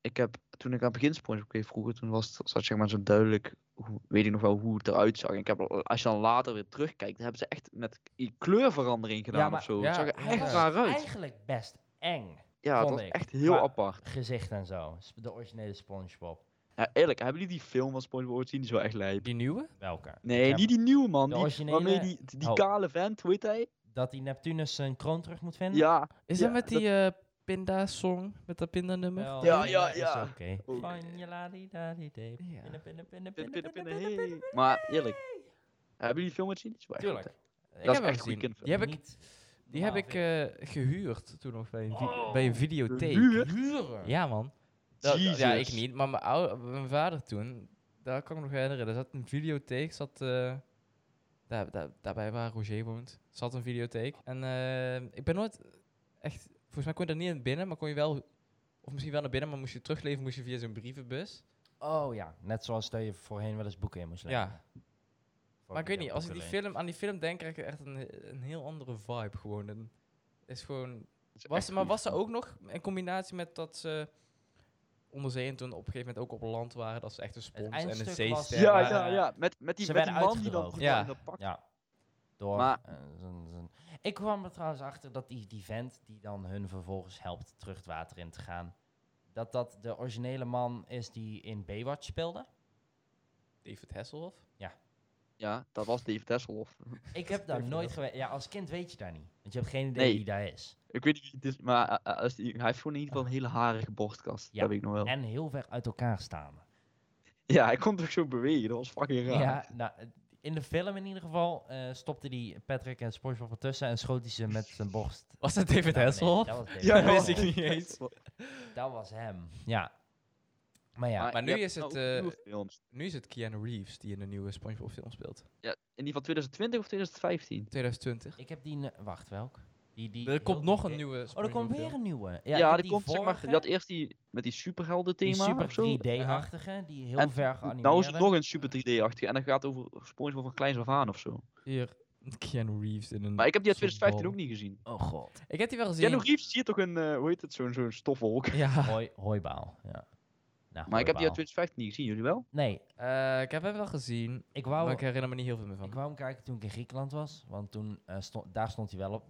Speaker 3: ik heb toen ik aan het begin SpongeBob keek vroeger, toen was het, zat zeg maar zo duidelijk, hoe, weet ik nog wel hoe het eruit zag. En ik heb, al- als je dan later weer terugkijkt, dan hebben ze echt met i- kleurverandering gedaan
Speaker 2: maar-
Speaker 3: of zo.
Speaker 1: ja,
Speaker 3: het zag er
Speaker 1: ja,
Speaker 3: echt
Speaker 1: dat is
Speaker 3: raar uit.
Speaker 2: Eigenlijk best eng.
Speaker 3: Ja, het
Speaker 2: vond
Speaker 3: was
Speaker 2: ik.
Speaker 3: echt heel
Speaker 2: Maar-
Speaker 3: apart.
Speaker 2: Gezicht en zo. Sp- De originele SpongeBob.
Speaker 3: Ja, eerlijk, hebben jullie die film van SpongeBob ooit gezien? Die is wel echt lijp.
Speaker 1: Die nieuwe?
Speaker 2: Welke? Ik
Speaker 3: Nee,
Speaker 2: heb-
Speaker 3: niet die nieuwe man.
Speaker 2: de
Speaker 3: Die,
Speaker 2: originele-
Speaker 3: waarmee die, die
Speaker 2: Oh.
Speaker 3: kale vent, hoe heet hij?
Speaker 2: Dat die Neptunus zijn kroon terug moet vinden?
Speaker 3: Ja,
Speaker 1: Is
Speaker 3: Ja,
Speaker 1: dat met
Speaker 3: dat-
Speaker 1: die eh Pinda-song met dat Pinda-nummer.
Speaker 2: Wel,
Speaker 3: Ja,
Speaker 2: eh,
Speaker 3: ja,
Speaker 2: is
Speaker 3: ja.
Speaker 2: Oké.
Speaker 3: Oké.
Speaker 2: Van je la-di-da-di-dee.
Speaker 1: Ja.
Speaker 2: Pinda, pinda, pinda,
Speaker 3: Pin,
Speaker 2: pinda,
Speaker 3: pin, pin,
Speaker 2: pinda, pinda, pinda.
Speaker 3: hey. Maar eerlijk, hebben jullie die film gezien? Die is wel echt
Speaker 2: Tuurlijk.
Speaker 3: goed,
Speaker 1: Ik
Speaker 3: hè. Dat
Speaker 1: heb
Speaker 3: is
Speaker 1: hem
Speaker 3: echt
Speaker 1: gezien.
Speaker 3: een goede kindfilm.
Speaker 1: Die heb ik,
Speaker 2: Niet
Speaker 1: die heb
Speaker 2: normaal
Speaker 1: ik eh, gehuurd toen nog bij een, vi-
Speaker 2: Oh,
Speaker 1: bij een videotheek.
Speaker 3: gehuurd?
Speaker 2: Huren?
Speaker 1: Ja, man. Dat- dat- ja, ik
Speaker 3: Jezus.
Speaker 1: niet, maar mijn, oude, mijn vader toen, daar kan ik me nog herinneren. Er zat een videotheek, zat, eh, daar, daar, daarbij waar Roger woont, zat een videotheek. En eh, ik ben nooit echt, volgens mij kon je daar niet in binnen, maar kon je wel, of misschien wel naar binnen, maar moest je terugleven, moest je via zo'n brievenbus.
Speaker 2: Oh ja, net zoals dat je voorheen wel eens boeken in moest leggen.
Speaker 1: Ja.
Speaker 2: Voor
Speaker 1: Maar ik weet niet, als ik die
Speaker 2: videoboeken
Speaker 1: film, aan die film denk, krijg ik echt een, een heel andere vibe gewoon. En is gewoon
Speaker 3: Dat is
Speaker 1: Was,
Speaker 3: echt
Speaker 1: maar
Speaker 3: goed.
Speaker 1: was er ook nog in combinatie met dat ze onderzeeën toen op een gegeven moment ook op land waren, dat ze echt een spons en een
Speaker 2: eindstuk was-
Speaker 1: zeester
Speaker 3: Ja,
Speaker 1: waren.
Speaker 3: ja,
Speaker 2: eh,
Speaker 3: ja. Met, met die,
Speaker 2: ze
Speaker 3: met die
Speaker 2: werden
Speaker 3: man die dan
Speaker 2: uitgedroogd.
Speaker 3: die dan
Speaker 1: Ja.
Speaker 3: in dat pak.
Speaker 2: Ja. Door.
Speaker 3: Maar-
Speaker 2: eh, zo'n- zo'n- ik kwam er trouwens achter dat die, die vent die dan hun vervolgens helpt terug het water in te gaan, dat dat de originele man is die in Baywatch speelde.
Speaker 1: David Hasselhoff.
Speaker 3: Ja, dat was Dave Tesselhoff.
Speaker 2: Ik heb daar
Speaker 1: Even
Speaker 2: nooit
Speaker 1: dat.
Speaker 2: geweest. Ja, als kind weet je daar niet. Want je hebt geen idee
Speaker 3: Nee.
Speaker 2: wie daar is.
Speaker 3: Ik weet niet wie het is, maar eh, eh, als die, hij heeft gewoon in ieder geval een hele harige borstkast.
Speaker 2: Ja.
Speaker 3: Dat weet ik nog wel.
Speaker 2: En heel ver uit elkaar staan.
Speaker 3: Ja, hij kon toch zo bewegen. Dat was fucking raar.
Speaker 2: Ja, nou, eh, in de film in ieder geval eh, stopte die Patrick en SpongeBob ertussen en schoot hij ze met zijn borst.
Speaker 1: Was dat David
Speaker 2: naar beneden.
Speaker 1: Hasselhoff?
Speaker 2: Dat was David
Speaker 3: Ja,
Speaker 1: dat
Speaker 2: Hasselhoff.
Speaker 1: wist ik niet eens.
Speaker 2: Dat was hem. Ja. Maar ja,
Speaker 1: maar nu
Speaker 3: je hebt
Speaker 1: is het,
Speaker 3: ook nieuwe films.
Speaker 1: Nu is het Keanu Reeves die in de nieuwe SpongeBob film speelt.
Speaker 3: Ja, in die van 2020 of 2015?
Speaker 1: 2020.
Speaker 2: ik heb die. ne- Wacht, welk? Die, die
Speaker 1: Er komt
Speaker 2: heel
Speaker 1: nog
Speaker 2: dikke-
Speaker 1: een nieuwe
Speaker 2: Oh, er komt weer
Speaker 1: een...
Speaker 2: een nieuwe.
Speaker 3: Ja,
Speaker 2: ik heb
Speaker 3: die komt zeg maar,
Speaker 2: vorige,
Speaker 3: je had eerst die met die superhelden
Speaker 2: die
Speaker 3: thema
Speaker 2: super
Speaker 3: of zo.
Speaker 2: 3D-achtige, die heel
Speaker 3: En
Speaker 2: ver geanimeerd.
Speaker 3: Nou is het nog een super 3D-achtige en dat gaat over Spongebob van Kleins af aan of zo.
Speaker 1: Hier, Keanu Reeves in een...
Speaker 3: Maar ik heb die uit
Speaker 1: soort
Speaker 3: 2015
Speaker 1: bal.
Speaker 3: ook niet gezien.
Speaker 2: Oh god.
Speaker 1: Ik heb die wel gezien.
Speaker 3: Keanu Reeves zie je toch een, eh, hoe heet het, zo'n zo'n stofwolk.
Speaker 1: Ja.
Speaker 2: Hoi, hooibaal. Ja. Nou,
Speaker 3: Maar ik heb die
Speaker 2: hooibaal.
Speaker 3: uit 2015 niet gezien, jullie wel?
Speaker 2: Nee,
Speaker 1: Eh, ik heb hem wel gezien,
Speaker 2: ik
Speaker 1: maar
Speaker 2: wou,
Speaker 1: ik herinner me niet heel veel meer van.
Speaker 2: ik wou hem kijken toen ik in Griekenland was. Want toen, eh, stond, daar stond hij wel op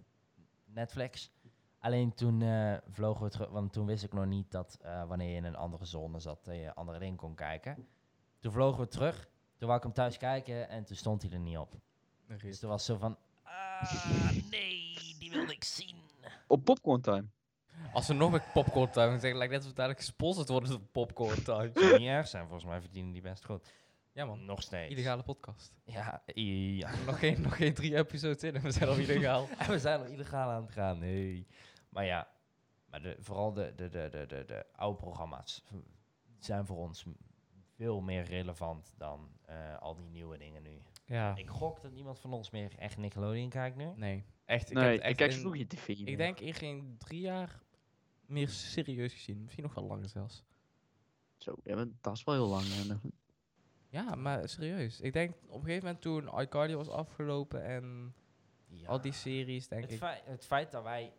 Speaker 2: Netflix. Alleen toen eh, vlogen we terug, want toen wist ik nog niet dat eh, wanneer je in een andere zone zat, dat je andere dingen kon kijken. Toen vlogen we terug, toen wou ik hem thuis kijken en toen stond hij er niet op. Dus er was zo van, ah nee, die wilde ik zien.
Speaker 3: Op Popcorn Time.
Speaker 1: Als we nog met popcorn time gaan zeggen, lijkt net alsof we dadelijk gesponsord worden door popcorn time.
Speaker 2: Zou niet erg zijn, volgens mij verdienen die best goed.
Speaker 1: ja man,
Speaker 2: Nog steeds.
Speaker 1: illegale podcast.
Speaker 2: Ja, i- ja.
Speaker 1: Nog geen, nog geen drie episodes in en we zijn al illegaal.
Speaker 2: En we zijn al illegaal aan het gaan, nee. Maar ja, maar de, vooral de, de, de, de, de, de oude programma's v- zijn voor ons m- veel meer relevant dan eh, al die nieuwe dingen nu.
Speaker 1: ja.
Speaker 2: Ik gok dat niemand van ons meer echt Nickelodeon kijkt nu.
Speaker 1: Nee, echt. Ik, heb
Speaker 3: nee,
Speaker 1: het echt
Speaker 3: ik kijk
Speaker 1: in-
Speaker 3: zo geen tv meer.
Speaker 1: Ik denk in geen drie jaar meer serieus gezien. Misschien nog wel langer zelfs.
Speaker 3: Zo, ja, maar dat is wel heel lang. hè.
Speaker 1: Ja, maar serieus. Ik denk op een gegeven moment toen iCardio was afgelopen en
Speaker 2: Ja.
Speaker 1: al die series, denk
Speaker 2: het,
Speaker 1: ik.
Speaker 2: feit, het feit dat wij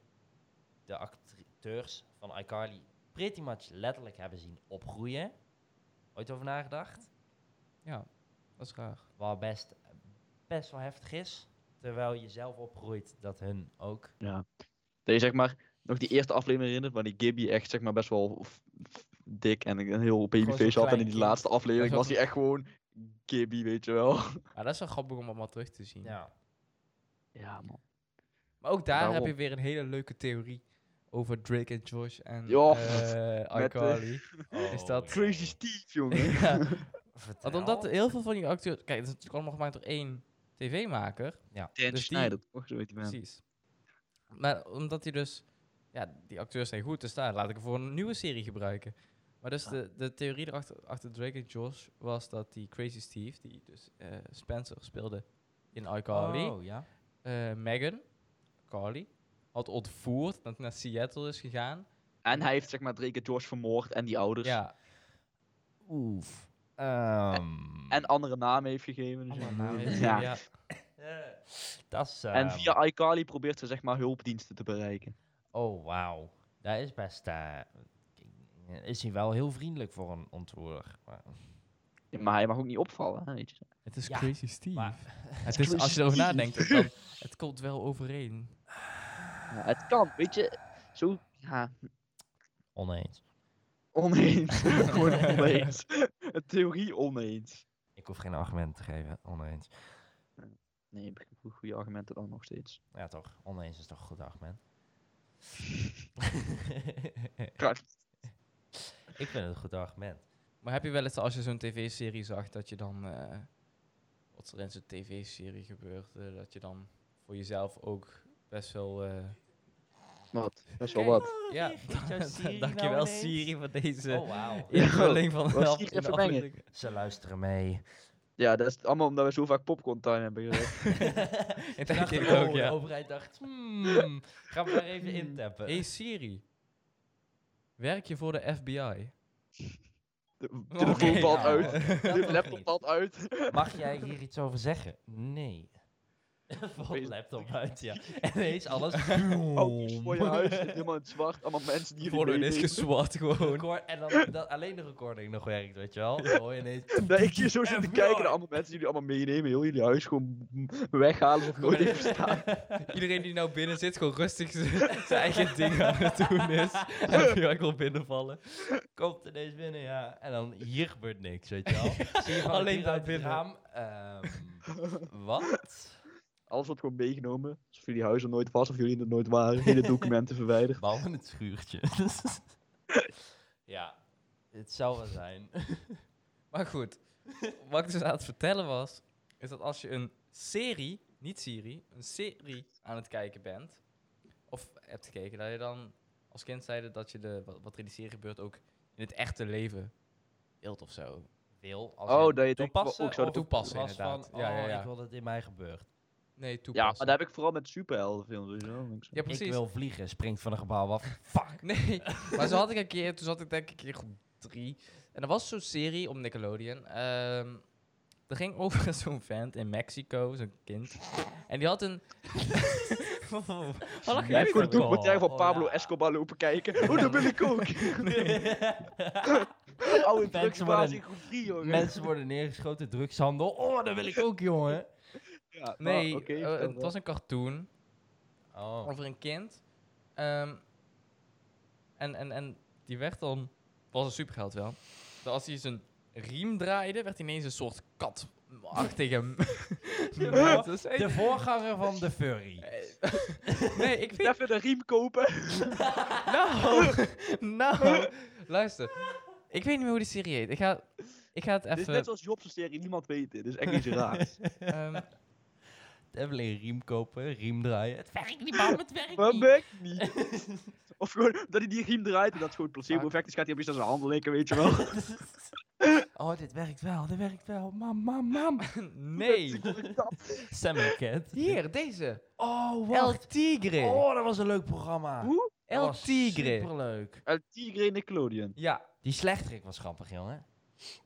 Speaker 2: de acteurs van iCarly pretty much letterlijk hebben zien opgroeien. Ooit over nagedacht?
Speaker 1: Ja, dat is raar.
Speaker 2: Wat best, best wel heftig is. Terwijl je zelf opgroeit dat hun ook.
Speaker 3: Ja. Dat je zeg maar nog die eerste aflevering herinnert, waar die Gibby echt zeg maar best wel f- f- dik en een heel
Speaker 2: Gewoon
Speaker 3: babyface
Speaker 2: zo'n
Speaker 3: had. En
Speaker 2: klein
Speaker 3: in die
Speaker 2: kind.
Speaker 3: laatste aflevering
Speaker 1: Ja,
Speaker 3: was hij echt gewoon Gibby, weet je wel.
Speaker 1: Ja, dat is wel grappig om allemaal terug te zien.
Speaker 2: Ja.
Speaker 3: Ja, man.
Speaker 1: Maar ook daar heb
Speaker 3: Daarom.
Speaker 1: je weer een hele leuke theorie over Drake en Josh en
Speaker 3: Ja,
Speaker 1: eh,
Speaker 3: met, eh,
Speaker 1: iCarly.
Speaker 2: Oh,
Speaker 1: dat-
Speaker 2: ja.
Speaker 3: Crazy Steve, jongen.
Speaker 1: ja.
Speaker 2: Vertel.
Speaker 1: Want omdat heel veel van die acteurs... Kijk, het is natuurlijk allemaal gemaakt door één tv-maker.
Speaker 3: Dan
Speaker 1: Dus die-
Speaker 3: Schneider, toch? Zo heet die man.
Speaker 1: Precies. Maar omdat hij dus... Ja, die acteurs zijn goed, dus daar laat ik hem voor een nieuwe serie gebruiken. Maar dus de, de theorie erachter achter Drake en Josh was dat die Crazy Steve, die dus eh, Spencer speelde in iCarly,
Speaker 2: Oh, ja.
Speaker 1: eh, Megan, Carly, had ontvoerd, dat naar Seattle is gegaan.
Speaker 3: En hij heeft zeg maar Drake en George vermoord en die ouders.
Speaker 1: Ja,
Speaker 2: Oef. Ehm,
Speaker 3: En andere namen heeft gegeven.
Speaker 1: Oh,
Speaker 3: dus
Speaker 2: Andere
Speaker 3: ja.
Speaker 2: namen heeft
Speaker 3: ja.
Speaker 1: ja. ja.
Speaker 2: dat is...
Speaker 3: En
Speaker 2: ehm,
Speaker 3: via iCarly probeert ze zeg maar hulpdiensten te bereiken.
Speaker 2: Oh, wauw. Dat is best... eh, is hij wel heel vriendelijk voor een ontvoerder. Maar,
Speaker 3: Ja, maar hij mag ook niet opvallen, hè, weet je.
Speaker 1: Het is
Speaker 2: Ja,
Speaker 1: Crazy Steve.
Speaker 2: maar-
Speaker 1: het is, als je erover
Speaker 3: Crazy
Speaker 1: nadenkt, dan, het komt wel overeen.
Speaker 3: Ja, Eh, het kan, weet je. Zo, ja,
Speaker 2: oneens.
Speaker 3: oneens. Gewoon oneens. Een theorie oneens.
Speaker 2: Ik hoef geen argument te geven. Oneens.
Speaker 3: Nee, goede argumenten dan nog steeds.
Speaker 2: Ja, toch. Oneens is toch een goed argument. ik vind het een goed argument.
Speaker 1: Maar heb je wel eens als je zo'n tv-serie zag dat je dan. eh, wat er in zo'n tv-serie gebeurt, eh, dat je dan voor jezelf ook best wel. eh,
Speaker 3: Wat? Best wel wat.
Speaker 1: ja, dankjewel Siri voor deze
Speaker 2: Oh, wauw.
Speaker 3: Ja,
Speaker 1: invulling van de
Speaker 3: wou
Speaker 1: af- in
Speaker 3: Siri
Speaker 1: de
Speaker 3: even mengen.
Speaker 1: aflevering.
Speaker 2: Ze luisteren mee.
Speaker 3: Ja, dat is allemaal omdat we zo vaak popcorn time hebben gezegd.
Speaker 2: Ik dacht,
Speaker 1: ik
Speaker 2: oh,
Speaker 1: ook, ja.
Speaker 2: De overheid dacht, hmm, gaan we daar even intappen.
Speaker 1: Hey Siri, werk je voor de FBI?
Speaker 3: De
Speaker 1: Oké,
Speaker 3: telefoon valt
Speaker 2: nou,
Speaker 3: uit.
Speaker 2: dat
Speaker 3: De
Speaker 2: toch
Speaker 3: laptop
Speaker 2: niet?
Speaker 3: valt uit.
Speaker 2: Mag jij hier iets over zeggen? Nee. Valt
Speaker 3: Opeens-
Speaker 2: laptop uit, ja. En ineens alles.
Speaker 3: Auto's voor je huis. Helemaal in het zwart. Allemaal mensen die
Speaker 1: Voor
Speaker 3: jullie
Speaker 1: is
Speaker 3: meenemen.
Speaker 1: geswat gewoon.
Speaker 2: Record- en dan dat alleen de recording nog werkt, weet je wel. Dan hoor je ineens.
Speaker 3: Dat ik hier zo zit te
Speaker 2: FBI.
Speaker 3: kijken naar allemaal mensen die jullie allemaal meenemen. Heel jullie huis gewoon weghalen of nooit even staan.
Speaker 1: Iedereen die nou binnen zit, gewoon rustig z- zijn eigen ding aan het doen is. En FBI komt binnenvallen.
Speaker 2: Komt ineens binnen, ja. En dan hier gebeurt niks, weet je wel. Zie je van
Speaker 1: Alleen
Speaker 2: alleen
Speaker 1: daar
Speaker 2: uit het
Speaker 1: binnen.
Speaker 2: raam. ehm, wat?
Speaker 3: Alles wordt gewoon meegenomen. Of jullie huis er nooit was of jullie er nooit waren. Hele documenten verwijderd.
Speaker 2: Behalve het schuurtje. ja, het zou wel zijn.
Speaker 1: Maar goed, wat ik dus aan het vertellen was, is dat als je een serie, niet Siri, een serie aan het kijken bent, of hebt gekeken, dat je dan als kind zeiden dat je de, wat, wat er in die serie gebeurt ook in het echte leven wilt of zo.
Speaker 2: Wil als
Speaker 3: Oh,
Speaker 2: in
Speaker 3: dat je het ook-
Speaker 2: toepassen
Speaker 3: ook zou
Speaker 2: of
Speaker 1: toepassen,
Speaker 2: was
Speaker 1: inderdaad.
Speaker 2: Van,
Speaker 1: Ja,
Speaker 2: oh,
Speaker 1: ja, ja.
Speaker 2: ik wil dat dit in mij gebeurt.
Speaker 1: Nee,
Speaker 3: Ja, maar
Speaker 1: toepassen.
Speaker 3: dat heb ik vooral met superheldenfilms. Dus, ja,
Speaker 1: Ja, precies.
Speaker 2: Ik wil vliegen, springt van een gebouw af. Fuck.
Speaker 1: Nee, maar zo had ik een keer, toen zat ik denk ik in groep drie. En er was zo'n serie op Nickelodeon. ehm er ging over zo'n vent in Mexico, zo'n kind. En die had een... Wat lachen
Speaker 3: Jij
Speaker 1: jullie
Speaker 3: hebt gewoon
Speaker 1: voor?
Speaker 2: Mexico.
Speaker 3: een documentaire van
Speaker 2: Oh,
Speaker 3: Pablo
Speaker 2: ja.
Speaker 3: Escobar lopen kijken. Oh, dat wil ik ook. Oude
Speaker 2: Mensen
Speaker 3: drugsbaas
Speaker 2: worden-
Speaker 3: in groep 3, jongen.
Speaker 2: Mensen worden neergeschoten, drugshandel. Oh, dat wil ik ook, jongen.
Speaker 3: Ja,
Speaker 1: Nee,
Speaker 3: ah, oké,
Speaker 1: eh,
Speaker 3: vertel
Speaker 1: het
Speaker 3: wel.
Speaker 1: was een cartoon
Speaker 2: Oh.
Speaker 1: over een kind. Ehm, en, en, en die werd dan... was een superheld wel. Dat als hij zijn riem draaide, werd hij ineens een soort katachtige... mens. Dat is echt-
Speaker 2: De voorganger van de furry.
Speaker 1: Eh, nee, ik vind...
Speaker 3: Even een riem kopen.
Speaker 1: Nou, nou. Luister. Ik weet niet meer hoe die serie heet. Ik ga, ik ga het
Speaker 3: Dit is net
Speaker 1: even...
Speaker 3: zoals Job's serie, niemand weet dit. Dit is echt iets raars.
Speaker 1: ehm,
Speaker 2: Even een riem kopen, riem draaien. Het werkt niet, man, het werkt
Speaker 3: Maar
Speaker 2: niet.
Speaker 3: merk niet. Of gewoon dat hij die riem draait en dat het gewoon placebo-effect is. Gaat hij opeens aan zijn handen likken, weet je wel.
Speaker 2: Oh, dit werkt wel, dit werkt wel. Mam, mam, mam.
Speaker 1: nee.
Speaker 2: Sam Cat.
Speaker 1: Hier, deze.
Speaker 2: Oh,
Speaker 1: El
Speaker 2: wacht.
Speaker 1: Tigre.
Speaker 2: Oh, dat was een leuk programma.
Speaker 3: Hoe?
Speaker 2: Dat
Speaker 1: El
Speaker 2: was
Speaker 1: Tigre.
Speaker 2: Superleuk.
Speaker 3: El Tigre Nickelodeon.
Speaker 1: Ja.
Speaker 2: Die slechterik was grappig, jongen.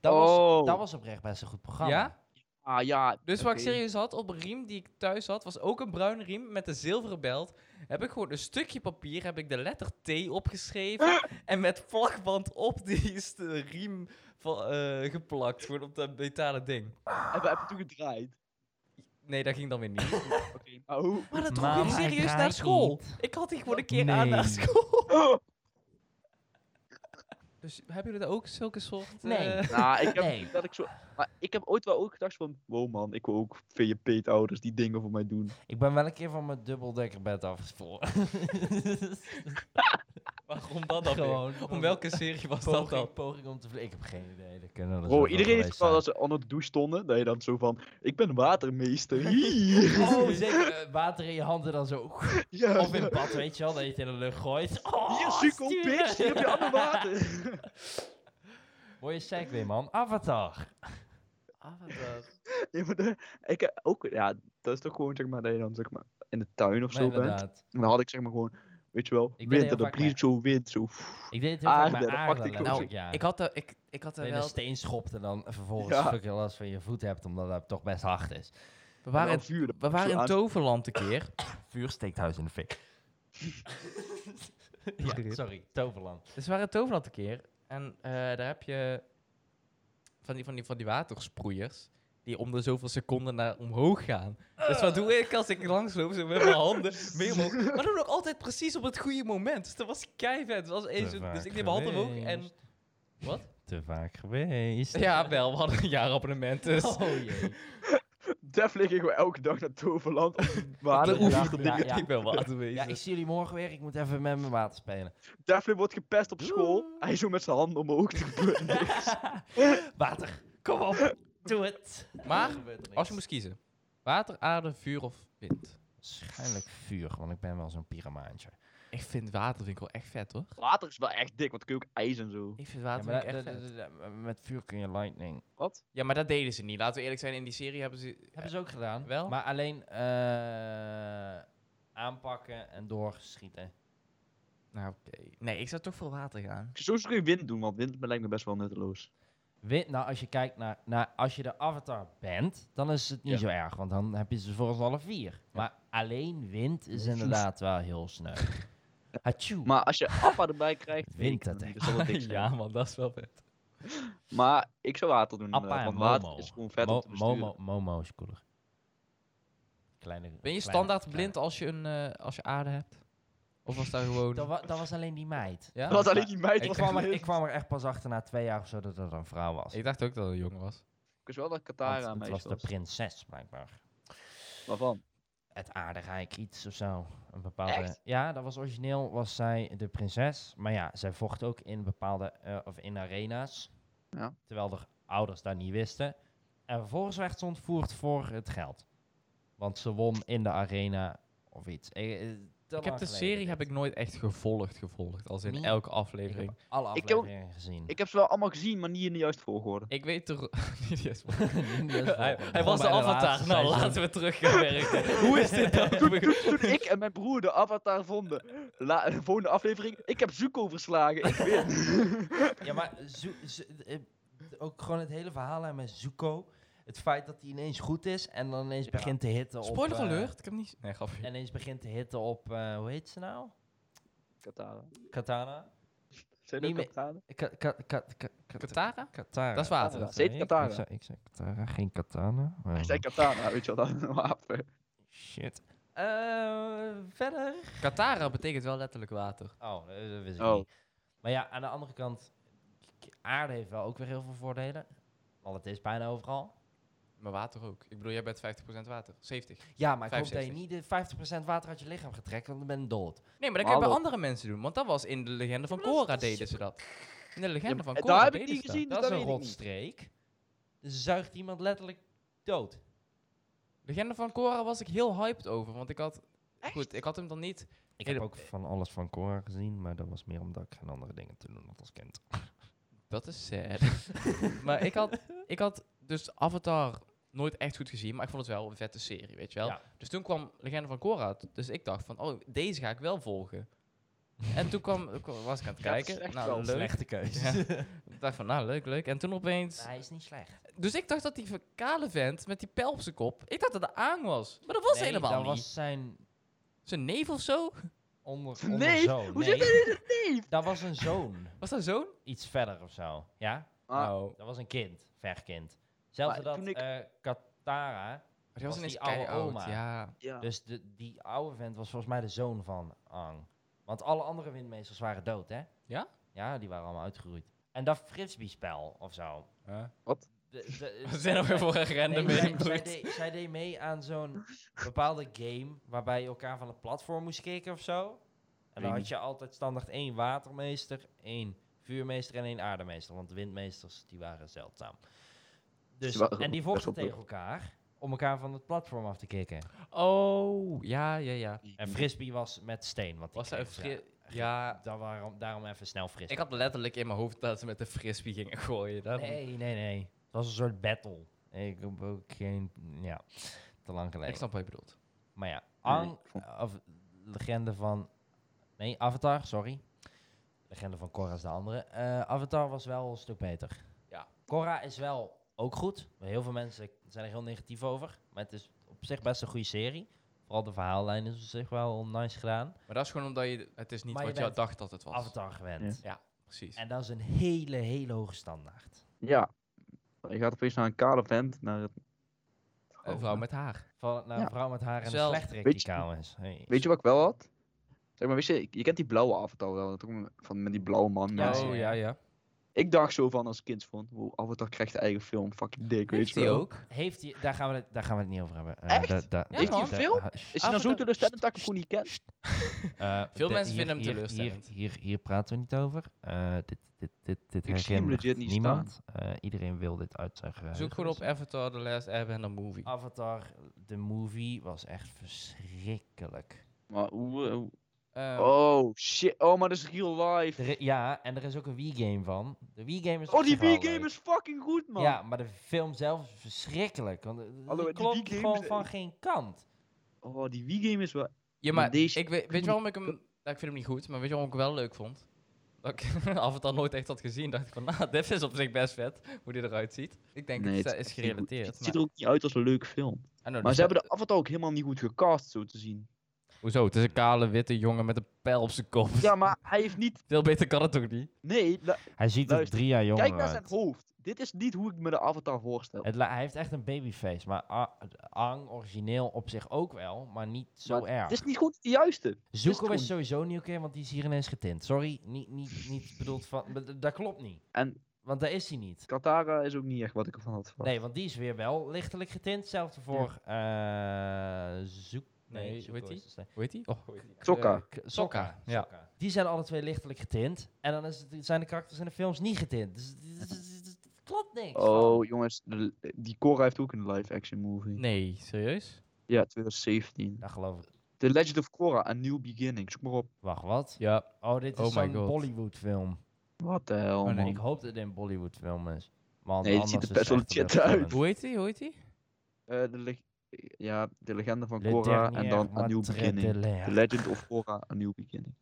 Speaker 2: Dat, was,
Speaker 3: Oh.
Speaker 2: dat was oprecht best een goed programma.
Speaker 1: Ja?
Speaker 3: Ah ja.
Speaker 1: Dus wat ik
Speaker 3: oké.
Speaker 1: serieus had, op een riem die ik thuis had, was ook een bruine riem met een zilveren belt. Heb ik gewoon een stukje papier, heb ik de letter T opgeschreven en met vlagband op die st- riem van, eh, geplakt. Gewoon op dat metalen ding.
Speaker 3: Heb, heb je toen gedraaid?
Speaker 1: Nee, dat ging dan weer niet.
Speaker 3: Oké, maar hoe?
Speaker 1: Maar dat droeg
Speaker 2: Mama,
Speaker 1: ik
Speaker 2: ik
Speaker 1: serieus
Speaker 2: ga
Speaker 1: naar school.
Speaker 2: niet.
Speaker 1: Ik had die gewoon een keer aan
Speaker 2: Nee.
Speaker 1: naar school.
Speaker 3: Oh.
Speaker 1: Dus hebben jullie ook zulke soort...
Speaker 2: Nee.
Speaker 1: eh,
Speaker 3: Nou, ik heb
Speaker 2: Nee.
Speaker 3: dat ik zo... Maar ik heb ooit wel ook gedacht van... Wow man, ik wil ook via peetouders die dingen voor mij doen.
Speaker 2: Ik ben wel een keer van mijn dubbeldekkerbed afgesprongen.
Speaker 1: waarom dat dan weer?
Speaker 2: Gewoon.
Speaker 1: Om welke serie was dat
Speaker 2: poging,
Speaker 1: dan?
Speaker 2: poging om te vliegen? Ik heb geen idee. Dat kunnen er
Speaker 3: Bro,
Speaker 2: zoveel
Speaker 3: Oh, iedereen heeft
Speaker 2: geweest
Speaker 3: wel dat
Speaker 2: zijn.
Speaker 3: ze onder de douche stonden. Dat je dan zo van... Ik ben watermeester. Hier.
Speaker 2: Oh, zeker. eh, water in je handen dan zo.
Speaker 3: ja.
Speaker 2: Of in bad, weet je wel, dat je het in de lucht gooit. Oh,
Speaker 3: Hier, sukkel,
Speaker 2: sturen.
Speaker 3: bitch. Hier heb je allemaal water.
Speaker 2: Mooie segue, man. Avatar.
Speaker 1: Ah,
Speaker 3: Ja, maar de- ik heb ook... Ja, dat is toch gewoon zeg maar... Dat je dan zeg maar in de tuin of
Speaker 2: Maar
Speaker 3: zo bent.
Speaker 2: inderdaad.
Speaker 3: En dan had ik zeg maar gewoon... Weet je wel,
Speaker 2: ben
Speaker 3: wind
Speaker 2: heel
Speaker 3: en dan
Speaker 2: vaak
Speaker 3: blies
Speaker 2: bij-
Speaker 3: het zo wind. Zo.
Speaker 2: Ik deed het heel vaak
Speaker 3: Aarde,
Speaker 2: bij
Speaker 3: dat
Speaker 2: aarde.
Speaker 3: pakte ik ook
Speaker 2: letterlijk,
Speaker 1: zo.
Speaker 2: ja.
Speaker 1: Ik had, er- ik, ik had er
Speaker 2: Dat je
Speaker 1: wel...
Speaker 2: een steen schopt en dan vervolgens
Speaker 3: Ja.
Speaker 2: fucking last van je voet hebt, omdat dat toch best hard is.
Speaker 1: We waren, in-
Speaker 3: nou, vuur.
Speaker 1: we waren in Toverland een keer.
Speaker 2: Vuur steekt huis in de fik. ja, sorry, Toverland.
Speaker 1: Dus we waren in Toverland een keer. En eh, daar heb je van die, van, die, van die watersproeiers. Die om de zoveel seconden naar omhoog gaan. Dus wat doe ik als ik langsloop? Zo met mijn handen mee omhoog. Maar dan ook altijd precies op het goede moment. Dus dat was keihard. Dus, dus ik neem mijn handen omhoog en... Wat?
Speaker 2: Te vaak geweest.
Speaker 1: Ja, wel. We hadden een jaarabonnement. Dus
Speaker 2: Oh jee.
Speaker 3: Daar vliegen we elke dag naar Toverland. om te
Speaker 2: Ja,
Speaker 1: de
Speaker 3: baden.
Speaker 2: oefenen.
Speaker 1: oefende
Speaker 2: ja,
Speaker 1: dingen.
Speaker 2: ja.
Speaker 1: Ik ben
Speaker 2: Ja, ik
Speaker 1: waterwezen.
Speaker 2: zie jullie morgen weer. Ik moet even met mijn water spelen.
Speaker 3: Daphne wordt gepest op school. Hij zo met zijn handen omhoog. Er gebeurt niks.
Speaker 2: Water, kom op. Doe het.
Speaker 1: Maar,
Speaker 2: Er gebeurt niks.
Speaker 1: Als je moest kiezen. Water, aarde, vuur of wind?
Speaker 2: Waarschijnlijk vuur, want ik ben wel zo'n pyramaantje.
Speaker 1: Ik vind water vind ik wel echt vet hoor.
Speaker 3: Water is wel echt dik, want dan kun je ook ijs en zo.
Speaker 1: Ik vind
Speaker 2: Ja,
Speaker 1: water
Speaker 2: maar
Speaker 1: vind ik
Speaker 2: dat-
Speaker 1: echt
Speaker 2: dat-
Speaker 1: vet.
Speaker 2: dat- dat- met vuur kun je lightning.
Speaker 3: Wat?
Speaker 1: Ja, maar dat deden ze niet. Laten we eerlijk zijn, in die serie hebben ze...
Speaker 2: Hebben ze ook gedaan.
Speaker 1: wel?
Speaker 2: Maar alleen eh, aanpakken en doorschieten.
Speaker 1: Nou, oké. Nee, ik zou toch voor water gaan.
Speaker 3: Zo zou je wind doen, want wind lijkt me best wel nutteloos.
Speaker 2: Wit, nou, als je kijkt naar, naar... Als je de avatar bent, dan is het niet zo erg. Want dan heb je ze voor ons alle vier. Maar alleen wind is inderdaad wel heel snel. Hachu.
Speaker 3: Maar als je Appa erbij krijgt,
Speaker 2: Hm. Wind
Speaker 3: weet ik
Speaker 2: dat
Speaker 3: niet, zal het niks zijn.
Speaker 1: man, dat is wel vet.
Speaker 3: Maar ik zou water doen, eh,
Speaker 2: Appa en
Speaker 3: want water
Speaker 2: Momo.
Speaker 3: is gewoon vet
Speaker 2: Mo-
Speaker 3: om te besturen.
Speaker 2: Momo, Momo is cooler. Kleine,
Speaker 1: Ben je
Speaker 2: kleine-
Speaker 1: standaard
Speaker 2: kleine-
Speaker 1: blind als je, een, eh, als je aarde hebt? Of was daar gewoon...
Speaker 2: Dat, wa- dat was alleen die meid.
Speaker 1: Ja?
Speaker 3: Dat was alleen die meid.
Speaker 2: Ik
Speaker 3: was
Speaker 2: kwam, er,
Speaker 3: blind.
Speaker 2: ik kwam er echt pas achter na twee jaar of zo dat het een vrouw was.
Speaker 1: Ik dacht ook dat het een jongen was.
Speaker 3: Ik wist wel dat
Speaker 2: Want
Speaker 3: Katara een
Speaker 2: het
Speaker 3: meisje
Speaker 2: was
Speaker 3: was.
Speaker 2: de prinses, blijkbaar.
Speaker 3: Waarvan?
Speaker 2: Het aarderijk iets of zo. Een bepaalde...
Speaker 3: Echt?
Speaker 2: Ja, dat was origineel, was zij de prinses. Maar ja, zij vocht ook in bepaalde, eh, of in arena's.
Speaker 3: Ja.
Speaker 2: Terwijl de ouders dat niet wisten. En vervolgens werd ze ontvoerd voor het geld. Want ze won in de arena of iets. Eh, eh, te
Speaker 1: Ik heb
Speaker 2: lang
Speaker 1: de
Speaker 2: geleden
Speaker 1: serie
Speaker 2: dit.
Speaker 1: heb ik nooit echt gevolgd, gevolgd. Als in
Speaker 2: Me?
Speaker 1: elke
Speaker 2: Ik heb
Speaker 1: aflevering.
Speaker 2: alle
Speaker 3: Ik heb ook-
Speaker 2: afleveringen gezien.
Speaker 3: Ik heb ze wel allemaal gezien, maar niet in de juiste volgorde.
Speaker 1: Ik weet toch...
Speaker 2: Hij-
Speaker 1: hij,
Speaker 2: hij
Speaker 1: was de avatar. Nou, laten we terug gaan werken. Hoe is dit dan?
Speaker 3: Toen ik en mijn broer de Avatar vonden, la, de volgende aflevering, ik heb Zuko verslagen. Ik win.
Speaker 2: Ja, maar Zu- Zu- eh, ook gewoon het hele verhaal aan met Zuko. Het feit dat hij ineens goed is en dan ineens
Speaker 3: Ja.
Speaker 2: begint te hitten op...
Speaker 1: Spoiler
Speaker 2: eh,
Speaker 1: alert. Ik heb niet... Nee, grapje.
Speaker 2: en ineens begint te hitten op, eh, hoe heet ze nou?
Speaker 3: Katara.
Speaker 2: Katana?
Speaker 3: Zijn
Speaker 2: Niet
Speaker 3: ook
Speaker 2: meer-
Speaker 3: Katara?
Speaker 2: Ka- ka- ka- ka- ka-
Speaker 1: Katara?
Speaker 2: Katara.
Speaker 1: Dat is water.
Speaker 3: Ze heet
Speaker 2: Ik-
Speaker 3: Katara.
Speaker 2: Ik zei, ik zei Katara, geen Katana. Oh,
Speaker 3: Hij zei Katana, weet je wel, dat is een wapen.
Speaker 2: Shit. Eh, verder?
Speaker 1: Katara betekent wel letterlijk water.
Speaker 2: Oh, dat dat wist ik
Speaker 3: Oh.
Speaker 2: niet. Maar ja, aan de andere kant, k- aarde heeft wel ook weer heel veel voordelen. Want het is bijna overal.
Speaker 1: Maar water ook. Ik bedoel, jij bent 50% water. 70.
Speaker 2: Ja, maar ik hoop dat je
Speaker 1: 65.
Speaker 2: niet de 50% water uit je lichaam gaat trekken, want dan ben je dood.
Speaker 1: Nee, maar dat
Speaker 3: Maar
Speaker 1: kun je bij
Speaker 3: hallo.
Speaker 1: andere mensen doen. Want dat was in de legende van Korra deden ze dat. In de legende
Speaker 3: Ja,
Speaker 1: van
Speaker 3: maar
Speaker 1: Korra
Speaker 3: daar heb ik
Speaker 1: deden
Speaker 3: niet
Speaker 1: ze
Speaker 3: gezien.
Speaker 2: Dat,
Speaker 3: Dat
Speaker 2: is
Speaker 3: weet
Speaker 2: een
Speaker 3: ik niet.
Speaker 2: rotstreek. Zuigt iemand letterlijk dood.
Speaker 1: dat. Legende van Korra was ik heel hyped over. Want ik had... Goed, ik had hem dan niet...
Speaker 2: Ik
Speaker 1: heb
Speaker 2: heb ook van alles van Cora gezien, maar dat was meer omdat ik geen andere dingen te doen had als kind.
Speaker 1: Dat is sad. maar ik had, ik had dus Avatar nooit echt goed gezien, maar ik vond het wel een vette serie, weet je wel.
Speaker 2: Ja.
Speaker 1: Dus toen kwam Legende van Korra, uit, dus ik dacht van, oh, deze ga ik wel volgen. en toen kwam, was ik aan het
Speaker 3: Ja, dat is
Speaker 1: kijken,
Speaker 3: echt wel
Speaker 1: nou
Speaker 3: een
Speaker 1: leuk.
Speaker 2: keuze.
Speaker 1: Ja. ik dacht van, nou leuk, leuk. En toen opeens,
Speaker 2: Hij is niet slecht.
Speaker 1: dus ik dacht dat die kale vent met die pijl op zijn kop, ik dacht dat dat aan was. Maar dat was
Speaker 2: Nee,
Speaker 1: helemaal
Speaker 2: dat
Speaker 1: niet.
Speaker 2: was zijn
Speaker 1: Zijn neef of zo?
Speaker 2: onder,
Speaker 3: Nee,
Speaker 2: onderzoon.
Speaker 3: hoe
Speaker 2: Nee,
Speaker 3: zit dat in het neef?
Speaker 2: dat was een zoon.
Speaker 1: Was dat zoon?
Speaker 2: Iets verder of zo. Ja?
Speaker 3: Ah,
Speaker 1: nou,
Speaker 2: Dat was een kind. Ver kind. Zelfs
Speaker 3: Maar
Speaker 2: dat
Speaker 3: toen ik-
Speaker 2: eh, Katara,
Speaker 1: die was,
Speaker 2: was
Speaker 1: ineens
Speaker 2: die oude
Speaker 1: keioud,
Speaker 2: oma.
Speaker 1: Ja.
Speaker 3: ja.
Speaker 2: dus de, die oude vent was volgens mij de zoon van Ang. Want alle andere windmeesters waren dood, hè?
Speaker 1: Ja?
Speaker 2: Ja, die waren allemaal uitgeroeid. En dat frisbee-spel of zo. De- de-
Speaker 1: Wat zijn er weer voor een random
Speaker 2: Nee, zij,
Speaker 1: input?
Speaker 2: zij deed- zij deed mee aan zo'n bepaalde game waarbij je elkaar van het platform moest kicken of zo. En
Speaker 3: Weet
Speaker 2: dan had
Speaker 3: niet.
Speaker 2: je altijd standaard één watermeester, één vuurmeester en één aardemeester. Want windmeesters, die waren zeldzaam. Dus,
Speaker 3: Die waren
Speaker 2: en die
Speaker 3: best wel
Speaker 2: vochten
Speaker 3: druk.
Speaker 2: tegen elkaar om elkaar van het platform af te kicken.
Speaker 1: Oh, ja, ja, ja.
Speaker 2: En frisbee was met steen. Want die
Speaker 1: Hm. Was hij een
Speaker 2: kreeg ze-
Speaker 1: fris... Ja,
Speaker 2: daar waarom, daarom even snel
Speaker 1: ik
Speaker 2: frisbee.
Speaker 1: had letterlijk in mijn hoofd dat ze met de frisbee gingen gooien. Dat...
Speaker 2: Nee, nee, nee. Het was een soort battle. Ik heb ook geen... Ja, te lang geleden.
Speaker 1: Ik snap wat je bedoelt.
Speaker 2: Maar ja,
Speaker 3: Nee,
Speaker 2: Ang,
Speaker 3: ik vond-
Speaker 2: eh, of legende van... Nee, Avatar, sorry. Legende van Korra is de andere. Eh, Avatar was wel een stuk beter.
Speaker 1: Ja.
Speaker 2: Korra is wel ook goed. maar Heel veel mensen zijn er heel negatief over. Maar het is op zich best een goede serie. Vooral de verhaallijn is op zich wel nice gedaan.
Speaker 1: Maar dat is gewoon omdat je... Het is niet
Speaker 2: Maar je
Speaker 1: wat je
Speaker 2: bent
Speaker 1: dacht dat het was.
Speaker 2: Avatar gewend.
Speaker 1: Precies.
Speaker 2: En dat is een hele, hele hoge standaard.
Speaker 3: Ja. Je gaat opeens naar een kale vent, naar het...
Speaker 1: Een vrouw met haar.
Speaker 2: Van, nou,
Speaker 3: Ja.
Speaker 2: een vrouw met haar en een
Speaker 1: Zelf-
Speaker 2: slechterik
Speaker 3: Weet
Speaker 2: die
Speaker 3: je-
Speaker 2: kaal is. Hey.
Speaker 3: Weet je wat ik wel had? Zeg maar, weet je, je kent die blauwe avatar wel, dat ook met- van, met die blauwe man.
Speaker 2: Ja,
Speaker 3: mensen.
Speaker 2: oh, ja,
Speaker 1: ja.
Speaker 3: Ik dacht zo van als kind van, wow, Avatar krijgt een eigen film, fucking dik, weet
Speaker 1: Heeft
Speaker 3: je
Speaker 1: hij
Speaker 3: wel.
Speaker 1: ook?
Speaker 2: Heeft hij, daar, gaan we het, daar gaan we het niet over hebben. Eh,
Speaker 3: Echt?
Speaker 2: da- Ah, da-
Speaker 1: Ja,
Speaker 2: da-
Speaker 1: man.
Speaker 2: da-
Speaker 3: Film?
Speaker 2: ha-
Speaker 3: Is hij nou zo
Speaker 1: Avatar-
Speaker 3: teleurstellend dat ik hem gewoon niet ken?
Speaker 2: Eh,
Speaker 1: Veel
Speaker 2: de-
Speaker 1: mensen
Speaker 2: hier-
Speaker 1: vinden hem
Speaker 2: hier-
Speaker 1: teleurstellend.
Speaker 2: Hier, hier, hier praten we niet over. Eh, dit, dit, dit, dit
Speaker 3: hem
Speaker 2: herinnert
Speaker 3: legit niet
Speaker 2: niemand. Eh, iedereen wil dit uit zijn geheugen.
Speaker 1: Zoek gewoon op Avatar The Last Airbender Movie.
Speaker 2: Avatar, de movie, was echt verschrikkelijk.
Speaker 3: Maar hoe, hoe-
Speaker 1: Eh,
Speaker 3: Oh, shit. Oh, maar dat is real life.
Speaker 2: Er i- ja, en er is ook een Wii-game van. De Wii-game is
Speaker 3: Oh,
Speaker 2: op
Speaker 3: die
Speaker 2: zich wel
Speaker 3: Wii-game
Speaker 2: leuk.
Speaker 3: is fucking goed, man.
Speaker 2: Ja, maar de film zelf is verschrikkelijk. Want het- het
Speaker 3: Hallo, die
Speaker 2: klopt
Speaker 3: Wii-games,
Speaker 2: gewoon
Speaker 3: eh,
Speaker 2: van geen kant.
Speaker 3: Oh, die Wii-game is wel...
Speaker 1: ja, maar
Speaker 3: maar deze-
Speaker 1: ik weet, weet je waarom ik hem... Nou, ik vind hem niet goed, maar weet je waarom ik hem wel leuk vond? Dat ik Avatar nooit echt had gezien. dacht ik van, nou, dit is op zich best vet, hoe die eruit ziet. Ik denk,
Speaker 3: Nee,
Speaker 1: het
Speaker 3: het
Speaker 1: eh, is
Speaker 3: echt niet goed.
Speaker 1: gerelateerd.
Speaker 3: Het ziet
Speaker 1: Maar,
Speaker 3: er ook niet uit als een leuke film.
Speaker 1: I know,
Speaker 3: Maar
Speaker 1: dus
Speaker 3: ze
Speaker 1: dat-
Speaker 3: hebben de Avatar ook helemaal niet goed gecast, zo te zien.
Speaker 1: Hoezo? Het is een kale, witte jongen met een pijl op zijn kop.
Speaker 3: Ja, maar hij heeft niet...
Speaker 1: Veel beter kan het toch niet?
Speaker 3: Nee, la-
Speaker 2: Hij ziet er
Speaker 3: Luister,
Speaker 2: drie jaar jonger
Speaker 3: kijk naar zijn
Speaker 2: uit.
Speaker 3: hoofd. Dit is niet hoe ik me de Avatar voorstel.
Speaker 2: Het li- hij heeft echt een babyface, maar A- Ang origineel op zich ook wel, maar niet zo
Speaker 3: Maar
Speaker 2: erg.
Speaker 3: Het is niet goed de juiste.
Speaker 2: Zoeken we
Speaker 3: gewoon-
Speaker 2: sowieso niet oké, want die is hier ineens getint. Sorry, niet, niet, niet bedoeld van. maar d- Dat klopt niet.
Speaker 3: En-
Speaker 2: Want daar is hij niet.
Speaker 3: Katara is ook niet echt wat ik ervan had verwacht.
Speaker 2: Nee, want die is weer wel lichtelijk getint. Hetzelfde voor eh Zoek.
Speaker 1: Nee, hoe
Speaker 2: Zuko
Speaker 1: heet
Speaker 2: is het,
Speaker 1: Hoe heet die? Oh, hoe heet die?
Speaker 3: Sokka.
Speaker 2: eh, K- Sokka.
Speaker 1: ja.
Speaker 2: Sokka. Die zijn alle twee lichtelijk getint. En dan is het- zijn de karakters in de films niet getint. Dus het- het- het- het- het klopt niks.
Speaker 3: Oh, jongens, de- die Korra heeft ook een live-action movie.
Speaker 1: Nee, serieus?
Speaker 3: Ja, 2017.
Speaker 2: Daar geloof ik.
Speaker 3: The Legend of Korra, A New Beginning. Zoek maar op.
Speaker 2: Wacht, wat?
Speaker 1: Ja.
Speaker 2: Oh, dit
Speaker 1: Oh
Speaker 2: is
Speaker 1: my
Speaker 2: zo'n
Speaker 1: God.
Speaker 2: Bollywood-film.
Speaker 3: Wat de hel,
Speaker 1: Oh, nee.
Speaker 3: man.
Speaker 2: Ik hoop dat dit een Bollywood-film is. Want
Speaker 3: Nee, dit ziet
Speaker 2: anders
Speaker 3: er best
Speaker 2: is
Speaker 3: wel
Speaker 2: het echt een
Speaker 3: legit uit.
Speaker 2: film.
Speaker 1: Hoe heet die? Hoe heet die?
Speaker 3: Eh, de leg- ja, de legende van
Speaker 2: Le
Speaker 3: Korra en
Speaker 2: dernier
Speaker 3: dan A New
Speaker 2: maitre de
Speaker 3: Beginning.
Speaker 2: l'air.
Speaker 3: The Legend of Korra, A New Beginning.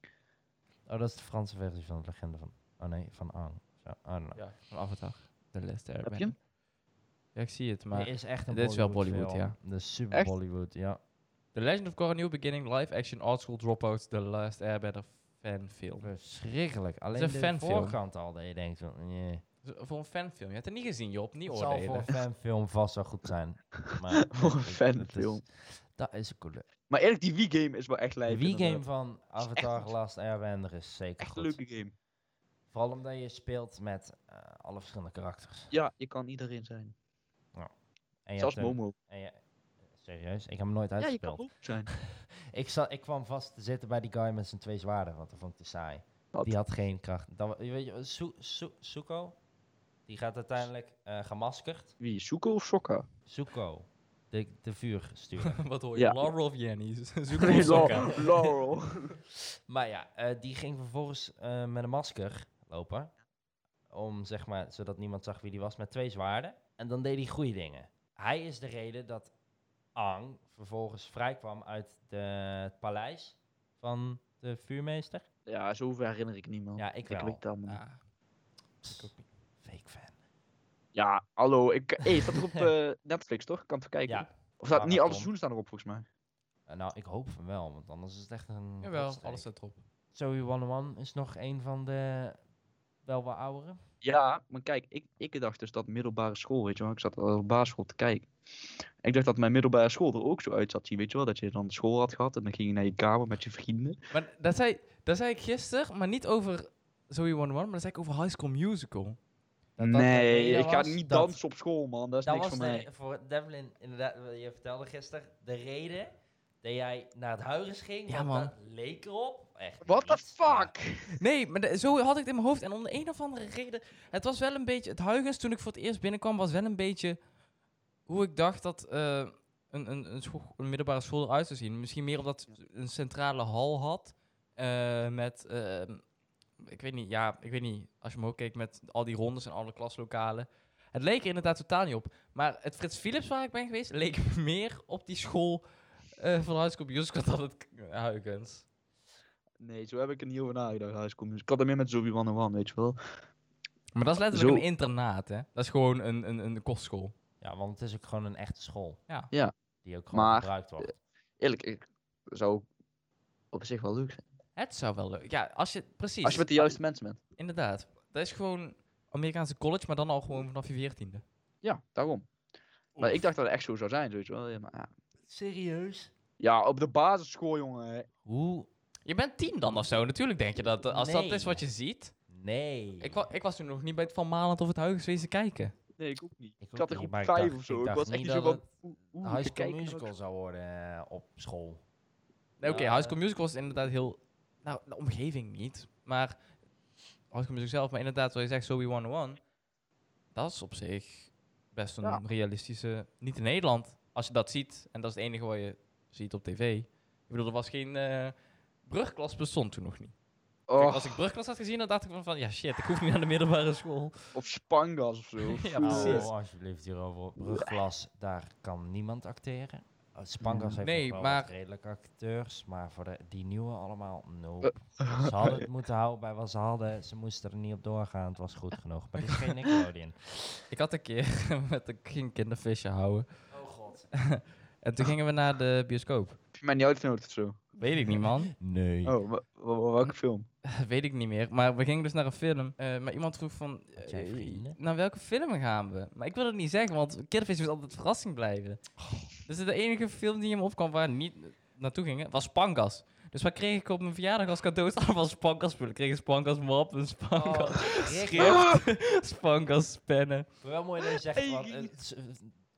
Speaker 2: Oh, dat is de Franse versie van de legende van... Oh nee, van Aang. Zo, I don't know.
Speaker 1: Ja, van Avatar. De Last Airbender.
Speaker 3: Heb je hem?
Speaker 1: Ja, ik zie het,
Speaker 2: Maar
Speaker 1: maar...
Speaker 2: is echt een
Speaker 1: dit is wel
Speaker 2: Bollywood,
Speaker 1: Bollywood,
Speaker 2: ja. De super
Speaker 3: Echt?
Speaker 2: Bollywood, ja.
Speaker 1: The Legend of Korra New Beginning, live action, art school dropouts, The Last Airbender fanfilm.
Speaker 2: Verschrikkelijk. Alleen
Speaker 1: een
Speaker 2: de
Speaker 1: fanfilm.
Speaker 2: voorkant al, dat je denkt van... Nee.
Speaker 1: Z- Voor een fanfilm. Je hebt het niet gezien, Job. Niet
Speaker 2: Het zal voor
Speaker 1: oordelen.
Speaker 2: een fanfilm vast wel goed zijn. Maar
Speaker 3: Voor een
Speaker 2: het- het- het
Speaker 3: fanfilm.
Speaker 2: is- Dat is een coole.
Speaker 3: Maar eerlijk, die Wii-game is wel echt
Speaker 2: De
Speaker 3: lijp.
Speaker 2: Wii-game
Speaker 3: inderdaad.
Speaker 2: van Avatar
Speaker 3: goed.
Speaker 2: Last Airbender is zeker
Speaker 3: Echt een
Speaker 2: goed.
Speaker 3: leuke game.
Speaker 2: Vooral omdat je speelt met eh, alle verschillende karakters.
Speaker 3: Ja, je kan iedereen zijn.
Speaker 2: En je
Speaker 3: Zelfs
Speaker 2: hebt een-
Speaker 3: Momo.
Speaker 2: en je- serieus? Ik heb hem nooit
Speaker 3: Ja, je kan
Speaker 2: uitgespeeld.
Speaker 3: Momo zijn.
Speaker 2: ik, zat, ik kwam vast te zitten bij die guy met zijn twee zwaarden, want dat vond ik te saai.
Speaker 3: Wat?
Speaker 2: Die had geen kracht. Dan, weet je, Su- Su- Suko, die gaat uiteindelijk eh, gemaskerd.
Speaker 3: Wie, Zuko of Sokka?
Speaker 2: Suko, de, de vuur sturen.
Speaker 1: Wat hoor je?
Speaker 3: Ja.
Speaker 1: Laurel of Jenny? Zoek
Speaker 3: Nee,
Speaker 1: nee,
Speaker 3: Laurel. Laurel.
Speaker 2: maar ja, eh, die ging vervolgens eh, met een masker lopen. Om, zeg maar, zodat niemand zag wie die was, met twee zwaarden. En dan deed hij goede dingen. Hij is de reden dat Ang vervolgens vrijkwam uit de, het paleis van de vuurmeester.
Speaker 3: Ja, zover herinner ik niemand.
Speaker 2: Ja, ik
Speaker 3: Ik
Speaker 2: wel.
Speaker 3: weet dat, man.
Speaker 1: Ah,
Speaker 2: Fake fan.
Speaker 3: Ja, hallo. Ik, hey, staat er op eh, Netflix, toch? Ik kan het kijken.
Speaker 2: Ja,
Speaker 3: Of staat
Speaker 2: Maar
Speaker 3: niet
Speaker 2: dat
Speaker 3: alle
Speaker 2: kon.
Speaker 3: seizoenen staan erop, volgens mij.
Speaker 2: eh, nou, ik hoop van wel, want anders is het echt een...
Speaker 1: jawel,
Speaker 2: rotsteek.
Speaker 1: alles staat erop.
Speaker 2: Zoe 101 is nog een van de wel wat oudere.
Speaker 3: Ja, maar kijk, ik, ik dacht dus dat middelbare school, weet je wel. Ik zat al op basisschool te kijken. Ik dacht dat mijn middelbare school er ook zo uit zat zien, weet je wel. Dat je dan school had gehad en dan ging je naar je kamer met je vrienden.
Speaker 1: Maar dat zei, dat zei ik gisteren, maar niet over Zoe 101, maar dat zei ik over High School Musical.
Speaker 2: Dat dat de
Speaker 3: nee,
Speaker 2: reden
Speaker 3: ik ga
Speaker 2: was
Speaker 3: niet
Speaker 2: dat-
Speaker 3: dansen op school, man. Dat is
Speaker 2: Dat
Speaker 3: niks
Speaker 2: was
Speaker 3: voor
Speaker 2: de
Speaker 3: mij.
Speaker 2: re- voor Devlin, inderdaad, wat je vertelde gisteren, de reden dat jij naar het huis ging.
Speaker 1: Ja,
Speaker 2: want
Speaker 1: man.
Speaker 2: Dat leek erop. Echt
Speaker 3: What the
Speaker 2: niet, maar-
Speaker 3: fuck?
Speaker 1: Nee, maar de- zo had ik het in mijn hoofd. En om de een of andere reden, het was wel een beetje, het Huygens toen ik voor het eerst binnenkwam, was wel een beetje hoe ik dacht dat eh, een, een, een, school- een middelbare school eruit zou zien. Misschien meer omdat het een centrale hal had eh, met, eh, ik weet niet, ja, ik weet niet, als je omhoog keek met al die rondes en alle klaslokalen. Het leek er inderdaad totaal niet op. Maar het Frits Philips waar ik ben geweest, leek meer op die school eh van High School Musical dan het K- Huygens.
Speaker 3: Nee, zo heb ik er niet over nagedacht. High School Musical. Ik had er meer met Zoe 101, weet je wel.
Speaker 1: Maar dat is letterlijk
Speaker 3: Zo.
Speaker 1: een internaat, hè? Dat is gewoon een, een, een kostschool.
Speaker 2: Ja, want het is ook gewoon een echte school.
Speaker 1: Ja.
Speaker 3: Ja.
Speaker 2: Die ook gewoon
Speaker 3: Maar, eh,
Speaker 2: gebruikt wordt.
Speaker 3: Eerlijk, ik zou op zich wel leuk zijn.
Speaker 1: Het zou wel leuk... Ja, als je... Precies.
Speaker 3: Als je met de juiste mensen bent.
Speaker 1: Inderdaad. Dat is gewoon Amerikaanse college, maar dan al gewoon vanaf je veertiende.
Speaker 3: Ja, daarom. Maar ik dacht dat het echt zo zou zijn, weet je wel. Ja, maar, ja.
Speaker 2: Serieus?
Speaker 3: ja, op de basisschool, jongen.
Speaker 2: Hoe?
Speaker 1: Je bent tien dan of zo. Natuurlijk denk je dat eh, als dat
Speaker 2: Nee.
Speaker 1: is wat je ziet...
Speaker 2: Nee.
Speaker 1: Ik, wa- ik was toen nog niet bij het Van Malend of het Huygenswees te kijken.
Speaker 3: Nee, ik ook niet.
Speaker 2: Ik
Speaker 3: Ik
Speaker 2: ook
Speaker 3: had
Speaker 2: niet,
Speaker 3: er groep
Speaker 2: maar ik
Speaker 3: 5
Speaker 2: dacht-
Speaker 3: of
Speaker 2: ik
Speaker 3: zo. Ik
Speaker 2: dacht
Speaker 3: was echt
Speaker 2: niet
Speaker 3: niet zo
Speaker 2: dat
Speaker 3: van. oeh, oeh,
Speaker 2: High
Speaker 3: te
Speaker 2: School
Speaker 3: kijken.
Speaker 2: Musical zou worden eh, op school.
Speaker 1: Nee, Oké,
Speaker 2: Ja.
Speaker 1: High School Musical was inderdaad heel... Nou, de omgeving niet, maar... High School Musical zelf, maar inderdaad, wat je zegt, Zoe 101... Dat is op zich best een
Speaker 3: Ja.
Speaker 1: realistische... Niet in Nederland, als je dat ziet. En dat is het enige wat je ziet op tv. Ik bedoel, er was geen... eh brugklas bestond toen nog niet. Kijk, als
Speaker 3: Oh,
Speaker 1: ik brugklas had gezien, dan dacht ik van, van... Ja, shit, ik hoef niet naar de middelbare school.
Speaker 3: of Spangas of zo.
Speaker 1: Ja,
Speaker 3: Oeh.
Speaker 1: precies.
Speaker 2: Oh, alsjeblieft hierover. Brugklas, daar kan niemand acteren. Uh, Spangas heeft
Speaker 1: Nee,
Speaker 2: nog wel
Speaker 1: maar-
Speaker 2: wat redelijke acteurs, maar voor de, die nieuwe allemaal, nope.
Speaker 3: Eh.
Speaker 2: Ze hadden het moeten houden bij wat ze hadden. Ze moesten er niet op doorgaan. Het was goed genoeg. Maar dit is geen Nickelodeon.
Speaker 1: Ik had een keer met een ging kindervisje houden.
Speaker 2: Oh god.
Speaker 1: En toen gingen we naar de bioscoop.
Speaker 3: Heb je mij niet uitgenodigd of zo?
Speaker 1: Weet ik niet, man.
Speaker 2: Nee.
Speaker 3: Oh, wa- wa- wa- welke film?
Speaker 1: Weet ik niet meer. Maar we gingen dus naar een film. Eh, maar iemand vroeg van...
Speaker 2: Had jij
Speaker 1: eh,
Speaker 2: vrienden?
Speaker 1: naar welke film gaan we? Maar ik wil het niet zeggen, want Kinderfeest moet altijd verrassing blijven. Dus de enige film die hem opkwam waar we niet naartoe gingen, was Spangas. Dus wat kreeg ik op mijn verjaardag als cadeau? Allemaal Spangas spullen. Ik kreeg een Spangas mop, een
Speaker 2: Oh,
Speaker 1: Spangas
Speaker 3: Oh.
Speaker 1: schrift, Spangas pennen.
Speaker 2: Wel mooi dat je zegt,
Speaker 3: Hey,
Speaker 2: want,
Speaker 3: Giet.
Speaker 2: het s- eh,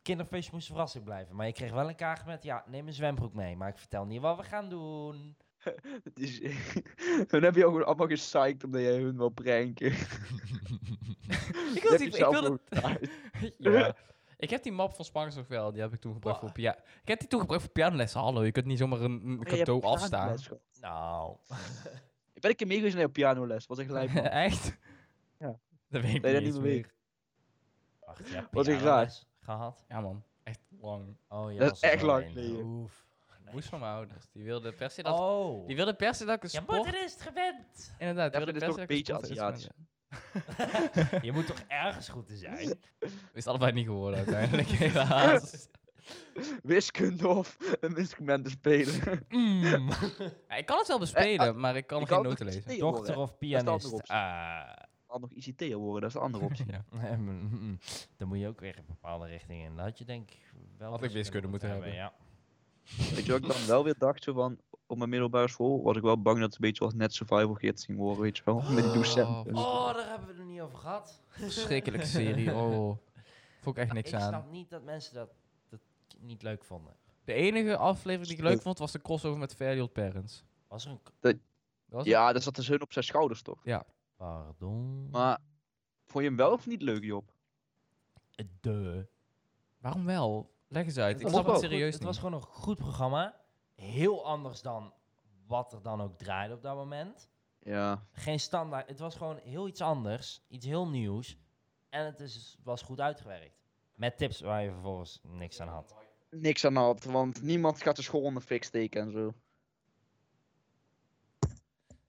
Speaker 2: kinderfeest moest verrassing blijven. Maar je kreeg wel een kaart met, ja, neem een zwembroek mee. Maar ik vertel niet wat we gaan doen.
Speaker 3: Het is- Hun hebben jou gewoon allemaal gesyched omdat jij hun wil pranken.
Speaker 1: Ik
Speaker 3: Je
Speaker 1: wil,
Speaker 3: hebt
Speaker 1: die, ik
Speaker 3: jezelf
Speaker 1: wil het-
Speaker 3: overtuigd.
Speaker 1: ja. Ik heb die map van Spangas nog wel. Die heb ik toen gebruikt voor piano. Ik heb die toen gebruikt voor pianolessen. Hallo, je kunt niet zomaar een, een
Speaker 3: Je hebt
Speaker 1: cadeau afstaan.
Speaker 3: pianoles gehad.
Speaker 2: Nou,
Speaker 3: Ik Ben ik een meegewezen naar pianoles? Was echt lijp. man.
Speaker 1: Echt?
Speaker 3: Ja.
Speaker 1: Dat weet ik
Speaker 3: Ben je dat
Speaker 1: niet eens
Speaker 3: niet meer
Speaker 1: meer.
Speaker 3: weet?
Speaker 2: wacht, ja,
Speaker 3: Wat ik
Speaker 2: pianoles Gehad?
Speaker 1: Ja, man. Echt lang.
Speaker 2: Oh, ja,
Speaker 3: Dat
Speaker 2: was
Speaker 3: is
Speaker 2: er
Speaker 3: echt
Speaker 2: zo
Speaker 3: lang
Speaker 2: een.
Speaker 3: geleden.
Speaker 2: Oef. Nee.
Speaker 1: Moest van mijn ouders. Die wilde per se dat...
Speaker 2: Oh.
Speaker 1: Die wilde per se dat ik een
Speaker 2: Je
Speaker 1: sport...
Speaker 2: moeder is het gewend.
Speaker 1: Inderdaad, die
Speaker 3: Ja,
Speaker 1: wilde
Speaker 3: dat
Speaker 1: per
Speaker 3: is
Speaker 1: se
Speaker 3: toch
Speaker 1: dat ik
Speaker 3: een
Speaker 1: een
Speaker 3: beetje
Speaker 1: sport-
Speaker 3: Aziatisch.
Speaker 2: Je moet toch ergens goed te zijn?
Speaker 1: Is allebei niet geworden uiteindelijk, helaas.
Speaker 3: Wiskunde of een instrument te spelen.
Speaker 2: Mm.
Speaker 1: Ja, ik kan het wel bespelen, maar ik kan
Speaker 3: Eh, ah, ik
Speaker 1: nog geen
Speaker 3: had
Speaker 1: noten
Speaker 3: nog
Speaker 1: lezen.
Speaker 3: ICT
Speaker 2: Dokter
Speaker 3: worden.
Speaker 2: of
Speaker 3: is de andere
Speaker 2: pianist?
Speaker 3: optie.
Speaker 2: Ah.
Speaker 3: Had nog ICT worden, dat is de andere optie.
Speaker 1: Ja. Mm,
Speaker 2: Dan moet je ook weer een bepaalde richting in. Dat had je denk ik wel...
Speaker 1: Had ik wiskunde moeten
Speaker 3: Weet je wat ik dan wel weer dacht zo van, op mijn middelbare school was ik wel bang dat het een beetje was net survival gids ging worden, weet je wel, met die docenten.
Speaker 2: Ja. Oh, daar hebben we het nog niet over gehad.
Speaker 1: Verschrikkelijke serie, oh. Vond ik echt niks
Speaker 2: ik
Speaker 1: aan.
Speaker 2: snap niet dat mensen dat, dat niet leuk vonden.
Speaker 1: De enige aflevering die ik leuk vond, was de crossover met Fairly Odd Parents.
Speaker 2: Was er een... k-
Speaker 1: Dat was
Speaker 3: Ja, dat zat dus hun op zijn schouders toch.
Speaker 2: Pardon.
Speaker 3: Maar vond je hem wel of niet leuk, Job?
Speaker 2: De.
Speaker 1: Waarom wel? Leg eens uit.
Speaker 2: Het
Speaker 1: Ik
Speaker 2: was
Speaker 1: snap het
Speaker 2: wel
Speaker 1: serieus
Speaker 2: goed,
Speaker 1: niet.
Speaker 2: Het was gewoon een goed programma. Heel anders dan wat er dan ook draaide op dat moment.
Speaker 3: Ja.
Speaker 2: Geen standaard. Het was gewoon heel iets anders. Iets heel nieuws. En het is, was goed uitgewerkt. Met tips waar je vervolgens niks aan had.
Speaker 3: Niks aan de hand, want niemand gaat de school onder fik steken en zo.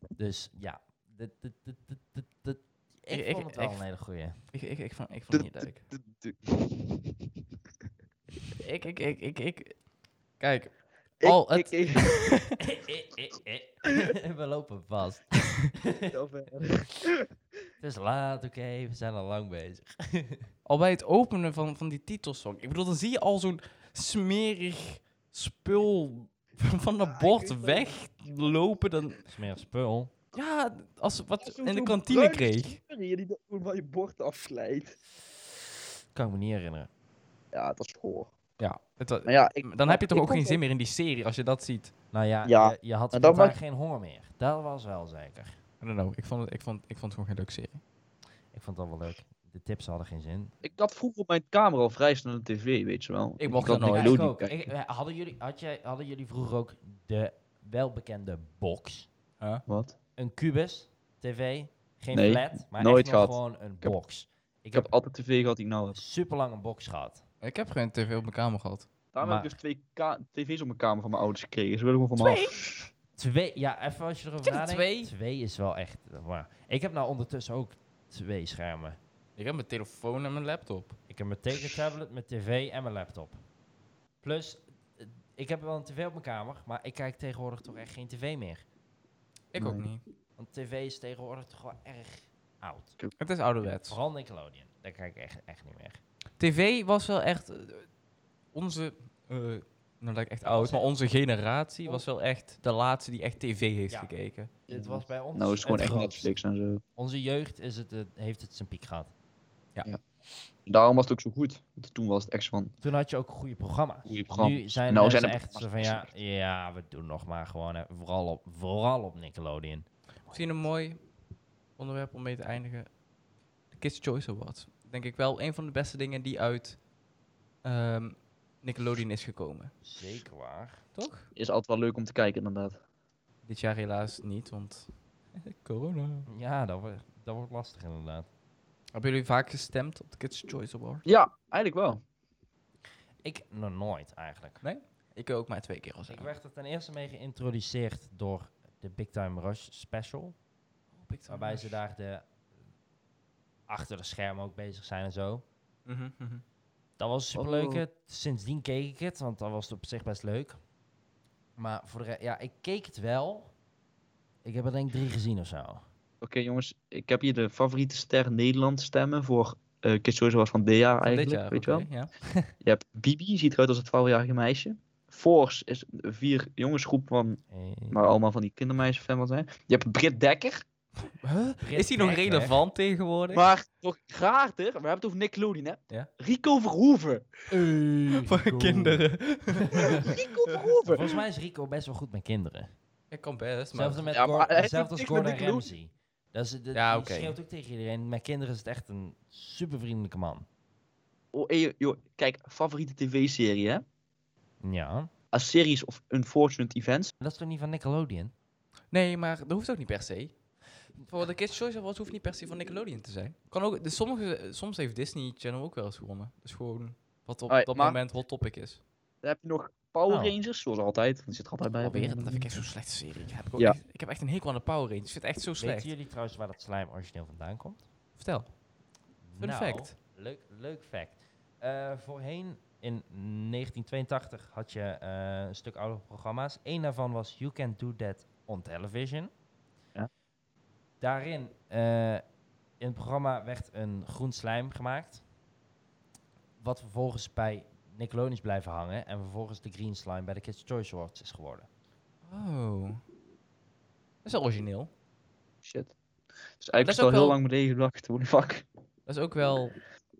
Speaker 2: Dus ja. Dit, dit, dit, dit, dit, dit. Ik,
Speaker 1: Ik- ik-
Speaker 2: vond het wel
Speaker 1: ik-
Speaker 2: een hele goeie.
Speaker 1: Ik, ik, ik, vond, ik vond het niet
Speaker 3: Doet-
Speaker 1: leuk.
Speaker 3: Du- du-
Speaker 1: Ik, ik, ik, ik, ik. Kijk,
Speaker 3: Ik-
Speaker 1: Al het-
Speaker 3: ik- ik-
Speaker 2: we lopen vast. Het is laat, oké. we zijn al lang bezig.
Speaker 1: al bij het openen van, van die titelsong. Ik bedoel, dan zie je al zo'n smerig spul van het bord weglopen. Dan,
Speaker 2: Smerig spul.
Speaker 1: ja, als wat
Speaker 3: Zo'n-
Speaker 1: in de
Speaker 3: zo'n
Speaker 1: kantine
Speaker 3: bruine
Speaker 1: kreeg.
Speaker 3: slurrie die dat gewoon van je bord afslijt.
Speaker 2: Kan ik me niet herinneren.
Speaker 3: Ja, dat is goor.
Speaker 1: Ja, het wa-
Speaker 3: Maar ja, ik,
Speaker 1: dan heb je toch
Speaker 3: ik
Speaker 1: ook
Speaker 3: vond
Speaker 1: geen
Speaker 3: het-
Speaker 1: zin meer in die serie als je dat ziet.
Speaker 2: Nou ja,
Speaker 3: Ja,
Speaker 2: je, je had
Speaker 3: en dat
Speaker 2: daar
Speaker 3: maakt-
Speaker 2: geen honger meer. Dat was wel zeker.
Speaker 1: I don't know. Ik vond het, ik vond, ik vond het gewoon geen leuke serie.
Speaker 2: Ik vond dat wel leuk. De tips hadden geen zin.
Speaker 3: Ik had vroeger op mijn kamer al vrij snel een tv, weet je wel.
Speaker 1: mocht dat
Speaker 3: had
Speaker 1: nooit.
Speaker 3: Nickelodeon
Speaker 2: ook.
Speaker 3: kijken.
Speaker 2: Ik- eh, hadden, jullie, had jij, hadden jullie vroeger ook de welbekende box?
Speaker 3: Wat?
Speaker 2: Een kubus, tv, geen
Speaker 3: Nee,
Speaker 2: flat, maar
Speaker 3: nooit
Speaker 2: echt nog
Speaker 3: gehad.
Speaker 2: gewoon een
Speaker 3: heb-
Speaker 2: box. Ik
Speaker 3: Ik
Speaker 2: heb
Speaker 3: heb altijd tv gehad die ik nou heb.
Speaker 2: super lang een box gehad.
Speaker 1: Ik heb geen tv op mijn kamer gehad.
Speaker 3: Daarom heb ik dus twee ka- tv's op mijn kamer van mijn ouders gekregen. Ze willen gewoon van me af.
Speaker 2: Twee, ja, even als je erover
Speaker 1: Twee?
Speaker 2: nadenkt. Twee is wel echt. eh, Wow. Ik heb nou ondertussen ook twee schermen.
Speaker 1: Ik heb mijn telefoon en mijn laptop.
Speaker 2: Ik heb mijn tekentablet, mijn tv en mijn laptop. Plus, eh, ik heb wel een tv op mijn kamer, maar ik kijk tegenwoordig toch echt geen tv meer.
Speaker 1: Ik ook
Speaker 3: Nee.
Speaker 1: niet.
Speaker 2: Want tv is tegenwoordig toch wel erg oud.
Speaker 1: Het is ouderwets.
Speaker 2: Vooral Nickelodeon, daar kijk ik echt, echt niet meer.
Speaker 1: TV was wel echt eh, onze eh, Nou, dat ik echt
Speaker 2: Dat
Speaker 1: oud.
Speaker 2: was
Speaker 1: Maar
Speaker 2: echt-
Speaker 1: onze generatie was wel echt de laatste die echt tv heeft
Speaker 2: Ja.
Speaker 1: gekeken.
Speaker 2: Dit was bij ons.
Speaker 3: Nou, is het gewoon
Speaker 2: het
Speaker 3: echt
Speaker 2: grootst.
Speaker 3: Netflix en zo.
Speaker 2: Onze jeugd is het, eh, heeft het zijn piek gehad.
Speaker 3: Daarom was het ook zo goed. Want toen was het echt zo van
Speaker 2: Toen had je ook goede programma's.
Speaker 3: goede programma.
Speaker 2: Nu zijn
Speaker 3: Nou,
Speaker 2: mensen
Speaker 3: zijn er
Speaker 2: echt zo van ja, ja, we doen nog maar gewoon eh, vooral op, vooral op Nickelodeon.
Speaker 1: Misschien een mooi onderwerp om mee te eindigen. De Kids' Choice Awards. Denk ik wel een van de beste dingen die uit ehm, Nickelodeon is gekomen.
Speaker 2: Zeker waar.
Speaker 1: Toch?
Speaker 3: Is altijd wel leuk om te kijken, inderdaad.
Speaker 1: Dit jaar helaas niet, want corona.
Speaker 2: Ja, dat wordt, dat wordt lastig inderdaad.
Speaker 1: Hebben jullie vaak gestemd op de Kids' Choice Award?
Speaker 3: Ja, eigenlijk wel.
Speaker 2: Ik nog nooit eigenlijk.
Speaker 1: Ik ook maar twee keer al
Speaker 2: Ik
Speaker 1: zeggen.
Speaker 2: werd er ten eerste mee geïntroduceerd door de Big Time Rush special. Waarbij ze daar de, achter de schermen ook bezig zijn en zo.
Speaker 1: Mhm, mhm.
Speaker 2: Dat was superleuk. hè. Sindsdien keek ik het, want dat was het op zich best leuk. Maar voor de re- ja, ik keek het wel. Ik heb er denk ik drie gezien of zo.
Speaker 3: Oké jongens, ik heb hier de favoriete ster Nederland stemmen voor eh Kids Choice Awards van dit jaar
Speaker 1: Van dit
Speaker 3: eigenlijk,
Speaker 1: jaar,
Speaker 3: weet je wel.
Speaker 1: oké, ja.
Speaker 3: Je hebt Bibi, ziet eruit als het 12-jarige meisje. Force is een vier jongensgroep van,
Speaker 2: Eh,
Speaker 3: maar allemaal van die kindermeisjes fan van zijn. Je hebt Britt Dekker,
Speaker 1: Is die nog
Speaker 2: Dekker.
Speaker 1: relevant tegenwoordig?
Speaker 3: maar toch raarder, we hebben het over Nickelodeon hè.
Speaker 1: Ja.
Speaker 3: Rico Verhoeven.
Speaker 2: Eh,
Speaker 1: Voor
Speaker 2: Rico.
Speaker 1: kinderen.
Speaker 3: Rico Verhoeven.
Speaker 2: Volgens mij is Rico best wel goed met kinderen.
Speaker 1: Ik kan best, maar...
Speaker 2: Hetzelfde met
Speaker 3: Ja, maar
Speaker 2: Gor-
Speaker 3: hij heeft
Speaker 2: hetzelfde
Speaker 3: ook
Speaker 2: als
Speaker 3: niks met
Speaker 2: Gordon
Speaker 3: Nickelodeon.
Speaker 2: Ramsay. Dat is, dat,
Speaker 1: Ja,
Speaker 2: die
Speaker 1: oké.
Speaker 2: schreeuwt ook tegen iedereen. Met kinderen is het echt een supervriendelijke man.
Speaker 3: Oh, hey, joh, kijk, favoriete tv-serie hè.
Speaker 2: Ja.
Speaker 3: A Series of Unfortunate Events.
Speaker 2: Dat is toch niet van Nickelodeon?
Speaker 1: Nee, maar dat hoeft ook niet per se. Voor de Kids' Choice Awards hoeft niet per se van Nickelodeon te zijn. Kan ook, dus sommige, eh, soms heeft Disney Channel ook wel eens gewonnen. Dus gewoon wat op
Speaker 3: Alright,
Speaker 1: dat
Speaker 3: maar-
Speaker 1: moment hot topic is.
Speaker 3: Dan heb je nog Power
Speaker 2: Oh.
Speaker 3: Rangers, zoals altijd. want Die zit er altijd bij.
Speaker 1: Alweer, dat vind ik echt zo'n slechte serie. Ik heb, ik ook
Speaker 3: Ja.
Speaker 1: echt, ik heb echt een hekel aan de Power Rangers. Ik vind het echt zo slecht.
Speaker 2: Weten jullie trouwens waar dat slime origineel vandaan komt?
Speaker 1: Vertel. Fun fact.
Speaker 2: Nou, Leuk, leuk fact. Eh, voorheen, in 1982, had je eh, een stuk oude programma's. Eén daarvan was You Can Do That on Television.
Speaker 3: Ja.
Speaker 2: Daarin, eh, in het programma, werd een groen slijm gemaakt. Wat vervolgens bij Nickelodeon is blijven hangen. En vervolgens de green slime bij de Kids' Choice Awards is geworden.
Speaker 1: Oh. Dat is wel origineel.
Speaker 3: Shit. Dus
Speaker 1: dat
Speaker 3: eigenlijk
Speaker 1: is
Speaker 3: is het al
Speaker 1: ook
Speaker 3: heel
Speaker 1: wel-
Speaker 3: lang beneden gedacht. Holy fuck.
Speaker 1: Dat is ook wel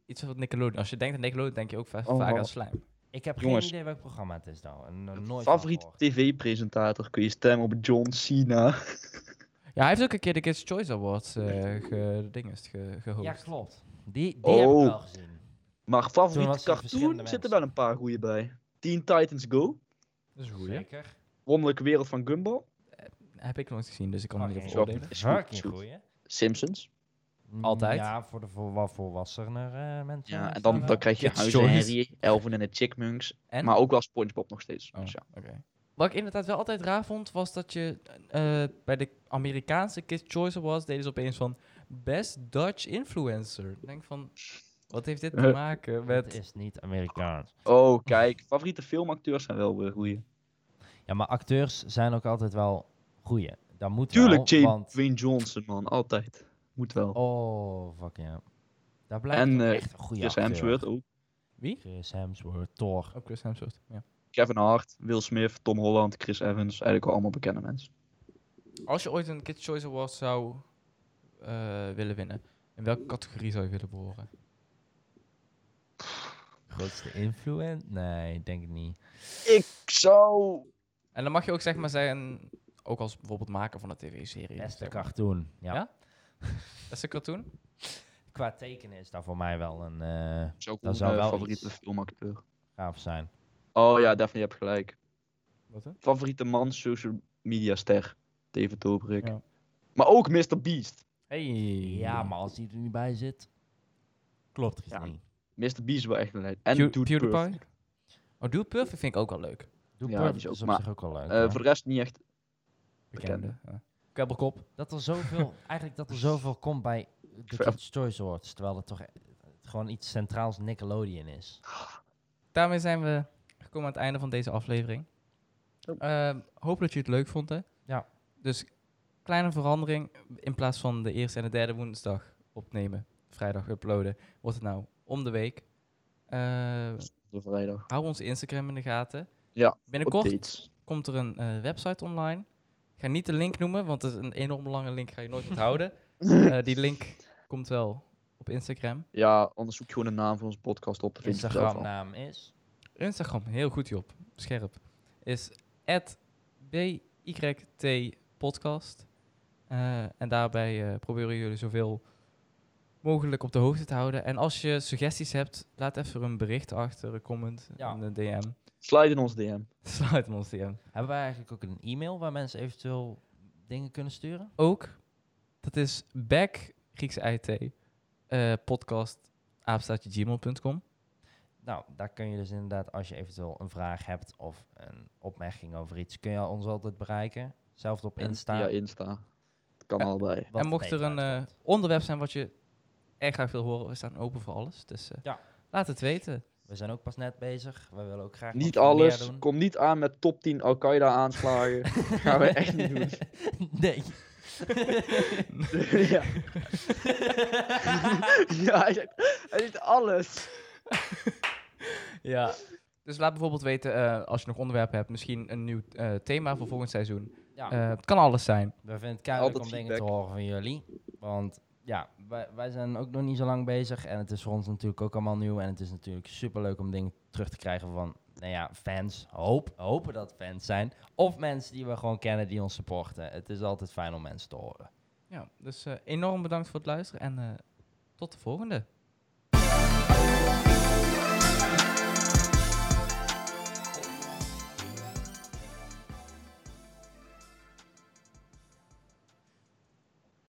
Speaker 1: iets wat Nickelodeon... Als je denkt aan Nickelodeon, denk je ook va-
Speaker 3: Oh,
Speaker 1: vaak aan
Speaker 3: wow.
Speaker 1: slime.
Speaker 2: Ik heb
Speaker 3: Jongens.
Speaker 2: geen idee welk programma het is nou. en, eh, nooit van
Speaker 3: Favoriete
Speaker 2: gehoord.
Speaker 3: tv-presentator kun je stemmen op John Cena.
Speaker 1: Ja, hij heeft ook een keer de Kids' Choice Awards eh ge, ding is het, ge, gehost.
Speaker 2: Ja, klopt. Die, die heb ik
Speaker 3: Oh.
Speaker 2: wel gezien.
Speaker 3: Maar
Speaker 2: Toen
Speaker 3: favoriete
Speaker 2: was hij verschillende
Speaker 3: cartoon
Speaker 2: mensen.
Speaker 3: zitten wel een paar goede bij. Teen Titans Go.
Speaker 1: Dat is een goeie.
Speaker 2: Zeker.
Speaker 3: Wonderlijke Wereld van Gumball.
Speaker 1: Heb ik nog nooit gezien, dus ik kan er niet
Speaker 2: Fucking
Speaker 1: over
Speaker 3: Zo.
Speaker 1: oordelen.
Speaker 2: goeie.
Speaker 3: Is goed,
Speaker 2: Fucking
Speaker 3: is goed.
Speaker 2: goeie.
Speaker 3: Simpsons.
Speaker 2: Mm,
Speaker 1: Altijd.
Speaker 2: Ja, voor de voor, wat volwassener eh, mensen.
Speaker 3: Ja, en
Speaker 2: is
Speaker 3: dan,
Speaker 2: dat
Speaker 3: dan
Speaker 2: wel.
Speaker 3: krijg je
Speaker 1: Kids'
Speaker 3: Huis en
Speaker 1: Choice.
Speaker 3: Harry, Elvin en de Chickmunks.
Speaker 1: En?
Speaker 3: Maar ook wel Spongebob nog steeds.
Speaker 1: Oh,
Speaker 3: Dus ja.
Speaker 1: oké. Wat ik inderdaad wel altijd raar vond, was dat je eh, bij de Amerikaanse Kids' Choice Awards deden ze opeens van Best Dutch Influencer. Ik denk van, wat heeft dit te
Speaker 3: Eh.
Speaker 1: maken
Speaker 2: Het
Speaker 1: met...
Speaker 2: is niet Amerikaans.
Speaker 3: Oh, kijk. Favoriete filmacteurs zijn wel weer goeie.
Speaker 2: Ja, maar acteurs zijn ook altijd wel goeie. Dat moet
Speaker 3: Tuurlijk,
Speaker 2: wel,
Speaker 3: Jane
Speaker 2: want...
Speaker 3: Wayne Johnson, man. Altijd. Moet wel.
Speaker 2: Oh, fuck ja. Daar blijft
Speaker 3: En,
Speaker 2: ook
Speaker 3: eh,
Speaker 2: echt een goede
Speaker 3: Chris
Speaker 2: acteur.
Speaker 3: Hemsworth ook.
Speaker 1: Wie?
Speaker 2: Chris Hemsworth, Thor.
Speaker 1: Oh, Chris Hemsworth. Ja.
Speaker 3: Kevin Hart, Will Smith, Tom Holland, Chris Evans. Eigenlijk wel allemaal bekende mensen.
Speaker 1: Als je ooit een Kids' Choice Award zou eh, willen winnen, in welke categorie zou je willen behoren?
Speaker 2: Grootste influent? Nee, ik denk het niet.
Speaker 3: Ik zou...
Speaker 1: En dan mag je ook zeg maar zeggen, ook als bijvoorbeeld maker van een tv-serie.
Speaker 2: Beste
Speaker 1: zeg maar.
Speaker 2: cartoon. Ja.
Speaker 1: Ja? Beste cartoon?
Speaker 2: Qua tekenen is dat voor mij wel een eh
Speaker 3: Zou
Speaker 2: Dat
Speaker 3: ook een
Speaker 2: zou wel
Speaker 3: favoriete
Speaker 2: iets-
Speaker 3: filmacteur.
Speaker 2: gaaf zijn.
Speaker 3: Oh ja, Daphne, je hebt gelijk.
Speaker 1: Wat
Speaker 3: Favoriete man, social media ster. David Dobrik.
Speaker 1: Ja.
Speaker 3: Maar ook Mr. Beast.
Speaker 1: Hey.
Speaker 2: Ja, maar als die er niet bij zit, klopt er iets
Speaker 3: Ja.
Speaker 2: niet.
Speaker 3: Mr. Beast wel echt een leid. En
Speaker 1: Pew-
Speaker 3: Dude
Speaker 1: PewDiePie?
Speaker 3: Perfect.
Speaker 1: Oh, Dude Perfect vind ik ook wel leuk.
Speaker 2: Doe
Speaker 3: Ja,
Speaker 2: Bird
Speaker 3: die is
Speaker 2: is,
Speaker 3: ook-
Speaker 2: op
Speaker 3: maar,
Speaker 2: zich ook wel leuk.
Speaker 3: Eh,
Speaker 2: ja.
Speaker 3: voor de rest niet echt.
Speaker 1: Bekende. Ja. Kebbelkop.
Speaker 2: Dat er zoveel, eigenlijk dat er zoveel komt bij de
Speaker 3: Ver-
Speaker 2: Kids' Choice Awards, terwijl het toch e- het gewoon iets centraals Nickelodeon is.
Speaker 1: Daarmee zijn we gekomen aan het einde van deze aflevering.
Speaker 3: Oh.
Speaker 1: Ehm, hoop dat je het leuk vond, hè?
Speaker 2: Ja.
Speaker 1: Dus kleine verandering. In plaats van de eerste en de derde woensdag opnemen, vrijdag uploaden, wordt het nou om de week. Eh,
Speaker 3: De vrijdag.
Speaker 1: hou onze Instagram in de gaten.
Speaker 3: Ja,
Speaker 1: Binnenkort
Speaker 3: Updates.
Speaker 1: komt er een eh, website online. Ik ga niet de link noemen, want het is een enorm lange link, ga je nooit onthouden. Eh, die link komt wel op Instagram.
Speaker 3: Ja, anders zoek je gewoon een naam voor onze podcast op. dan vind je het zelf wel.
Speaker 2: Instagram-naam is.
Speaker 1: Instagram, heel goed Job, scherp, is @bytpodcast. Eh, en daarbij eh, proberen jullie zoveel mogelijk op de hoogte te houden. En als je suggesties hebt, laat even een bericht achter, een comment,
Speaker 2: Ja.
Speaker 1: een DM.
Speaker 3: Slide in ons DM.
Speaker 1: Sluit in ons DM.
Speaker 2: Hebben wij eigenlijk ook een e-mail waar mensen eventueel dingen kunnen sturen?
Speaker 1: Ook, dat is back, Grieks IT, eh, podcast, apenstaartje gmail.com.
Speaker 2: Nou, daar kun je dus inderdaad, als je eventueel een vraag hebt of een opmerking over iets, kun je ons altijd bereiken. Zelfs op Insta.
Speaker 3: Ja, Insta. Het kan
Speaker 1: Ja.
Speaker 3: allebei.
Speaker 2: wat
Speaker 1: en mocht
Speaker 2: beter
Speaker 1: er een eh,
Speaker 2: uitkomt.
Speaker 1: onderwerp zijn wat je echt graag wil horen, we staan open voor alles. Dus eh,
Speaker 2: Ja.
Speaker 1: laat het weten.
Speaker 2: We zijn ook pas net bezig. We willen ook graag
Speaker 3: Niet
Speaker 2: wat meer
Speaker 3: alles.
Speaker 2: doen.
Speaker 3: Kom niet aan met top 10 Al-Qaeda-aanslagen. gaan we echt niet doen.
Speaker 2: nee.
Speaker 3: ja. ja, hij zegt, hij zegt alles.
Speaker 1: Ja. Dus laat bijvoorbeeld weten, eh, als je nog onderwerpen hebt, misschien een nieuw eh, thema voor volgend seizoen.
Speaker 2: ja,
Speaker 1: Eh, het kan alles zijn.
Speaker 2: we vinden het keihard om
Speaker 3: altijd
Speaker 2: dingen te
Speaker 3: feedback.
Speaker 2: horen van jullie. Want ja, wij, wij zijn ook nog niet zo lang bezig. En het is voor ons natuurlijk ook allemaal nieuw. En het is natuurlijk superleuk om dingen terug te krijgen van, nou ja, fans. Hoop, hopen dat fans zijn. Of mensen die we gewoon kennen die ons supporten. Het is altijd fijn om mensen te horen.
Speaker 1: Ja, dus eh, enorm bedankt voor het luisteren en eh, tot de volgende.